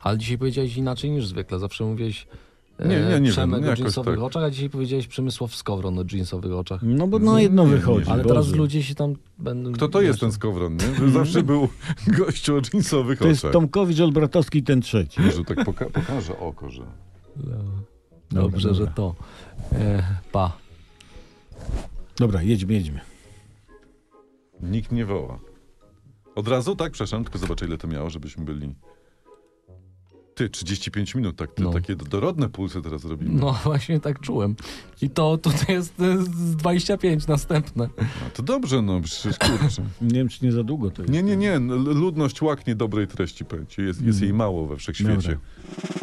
[SPEAKER 1] Ale dzisiaj powiedziałeś inaczej niż zwykle. Zawsze mówiłeś e,
[SPEAKER 2] Nie, nie, nie
[SPEAKER 1] Przemek
[SPEAKER 2] wiem, nie,
[SPEAKER 1] o
[SPEAKER 2] jakoś
[SPEAKER 1] jeansowych
[SPEAKER 2] tak.
[SPEAKER 1] oczach, a dzisiaj powiedziałeś Przemysław Skowron o jeansowych oczach.
[SPEAKER 3] No bo no jedno
[SPEAKER 2] Nie, nie,
[SPEAKER 3] wychodzi.
[SPEAKER 2] nie.
[SPEAKER 1] Ale
[SPEAKER 3] Boże.
[SPEAKER 1] teraz ludzie się tam będą...
[SPEAKER 2] Kto to jest ten skowron, nie? Zawsze był gościu o dżinsowych
[SPEAKER 3] To jest
[SPEAKER 2] oczach.
[SPEAKER 3] Tomkowicz, Olbratowski, ten trzeci.
[SPEAKER 2] Może tak poka- pokaże oko, że...
[SPEAKER 1] Dobrze,
[SPEAKER 3] Dobra,
[SPEAKER 1] że to. E, pa.
[SPEAKER 3] Dobra, jedźmy, jedźmy.
[SPEAKER 2] Nikt nie woła. Od razu, tak? Przepraszam, tylko zobaczę, ile to miało, żebyśmy byli. Ty, 35 minut, tak, ty,
[SPEAKER 1] No.
[SPEAKER 2] takie dorodne pulsy teraz robimy.
[SPEAKER 1] No właśnie tak czułem. I to tutaj jest e, z 25 następne.
[SPEAKER 2] A to dobrze, no przecież kurczę.
[SPEAKER 3] Nie wiem, czy nie za długo to jest. Mm.
[SPEAKER 2] Nie, nie, nie, no, ludność łaknie dobrej treści, powiem ci. Jest, jest jej mało we wszechświecie.
[SPEAKER 3] Dobra.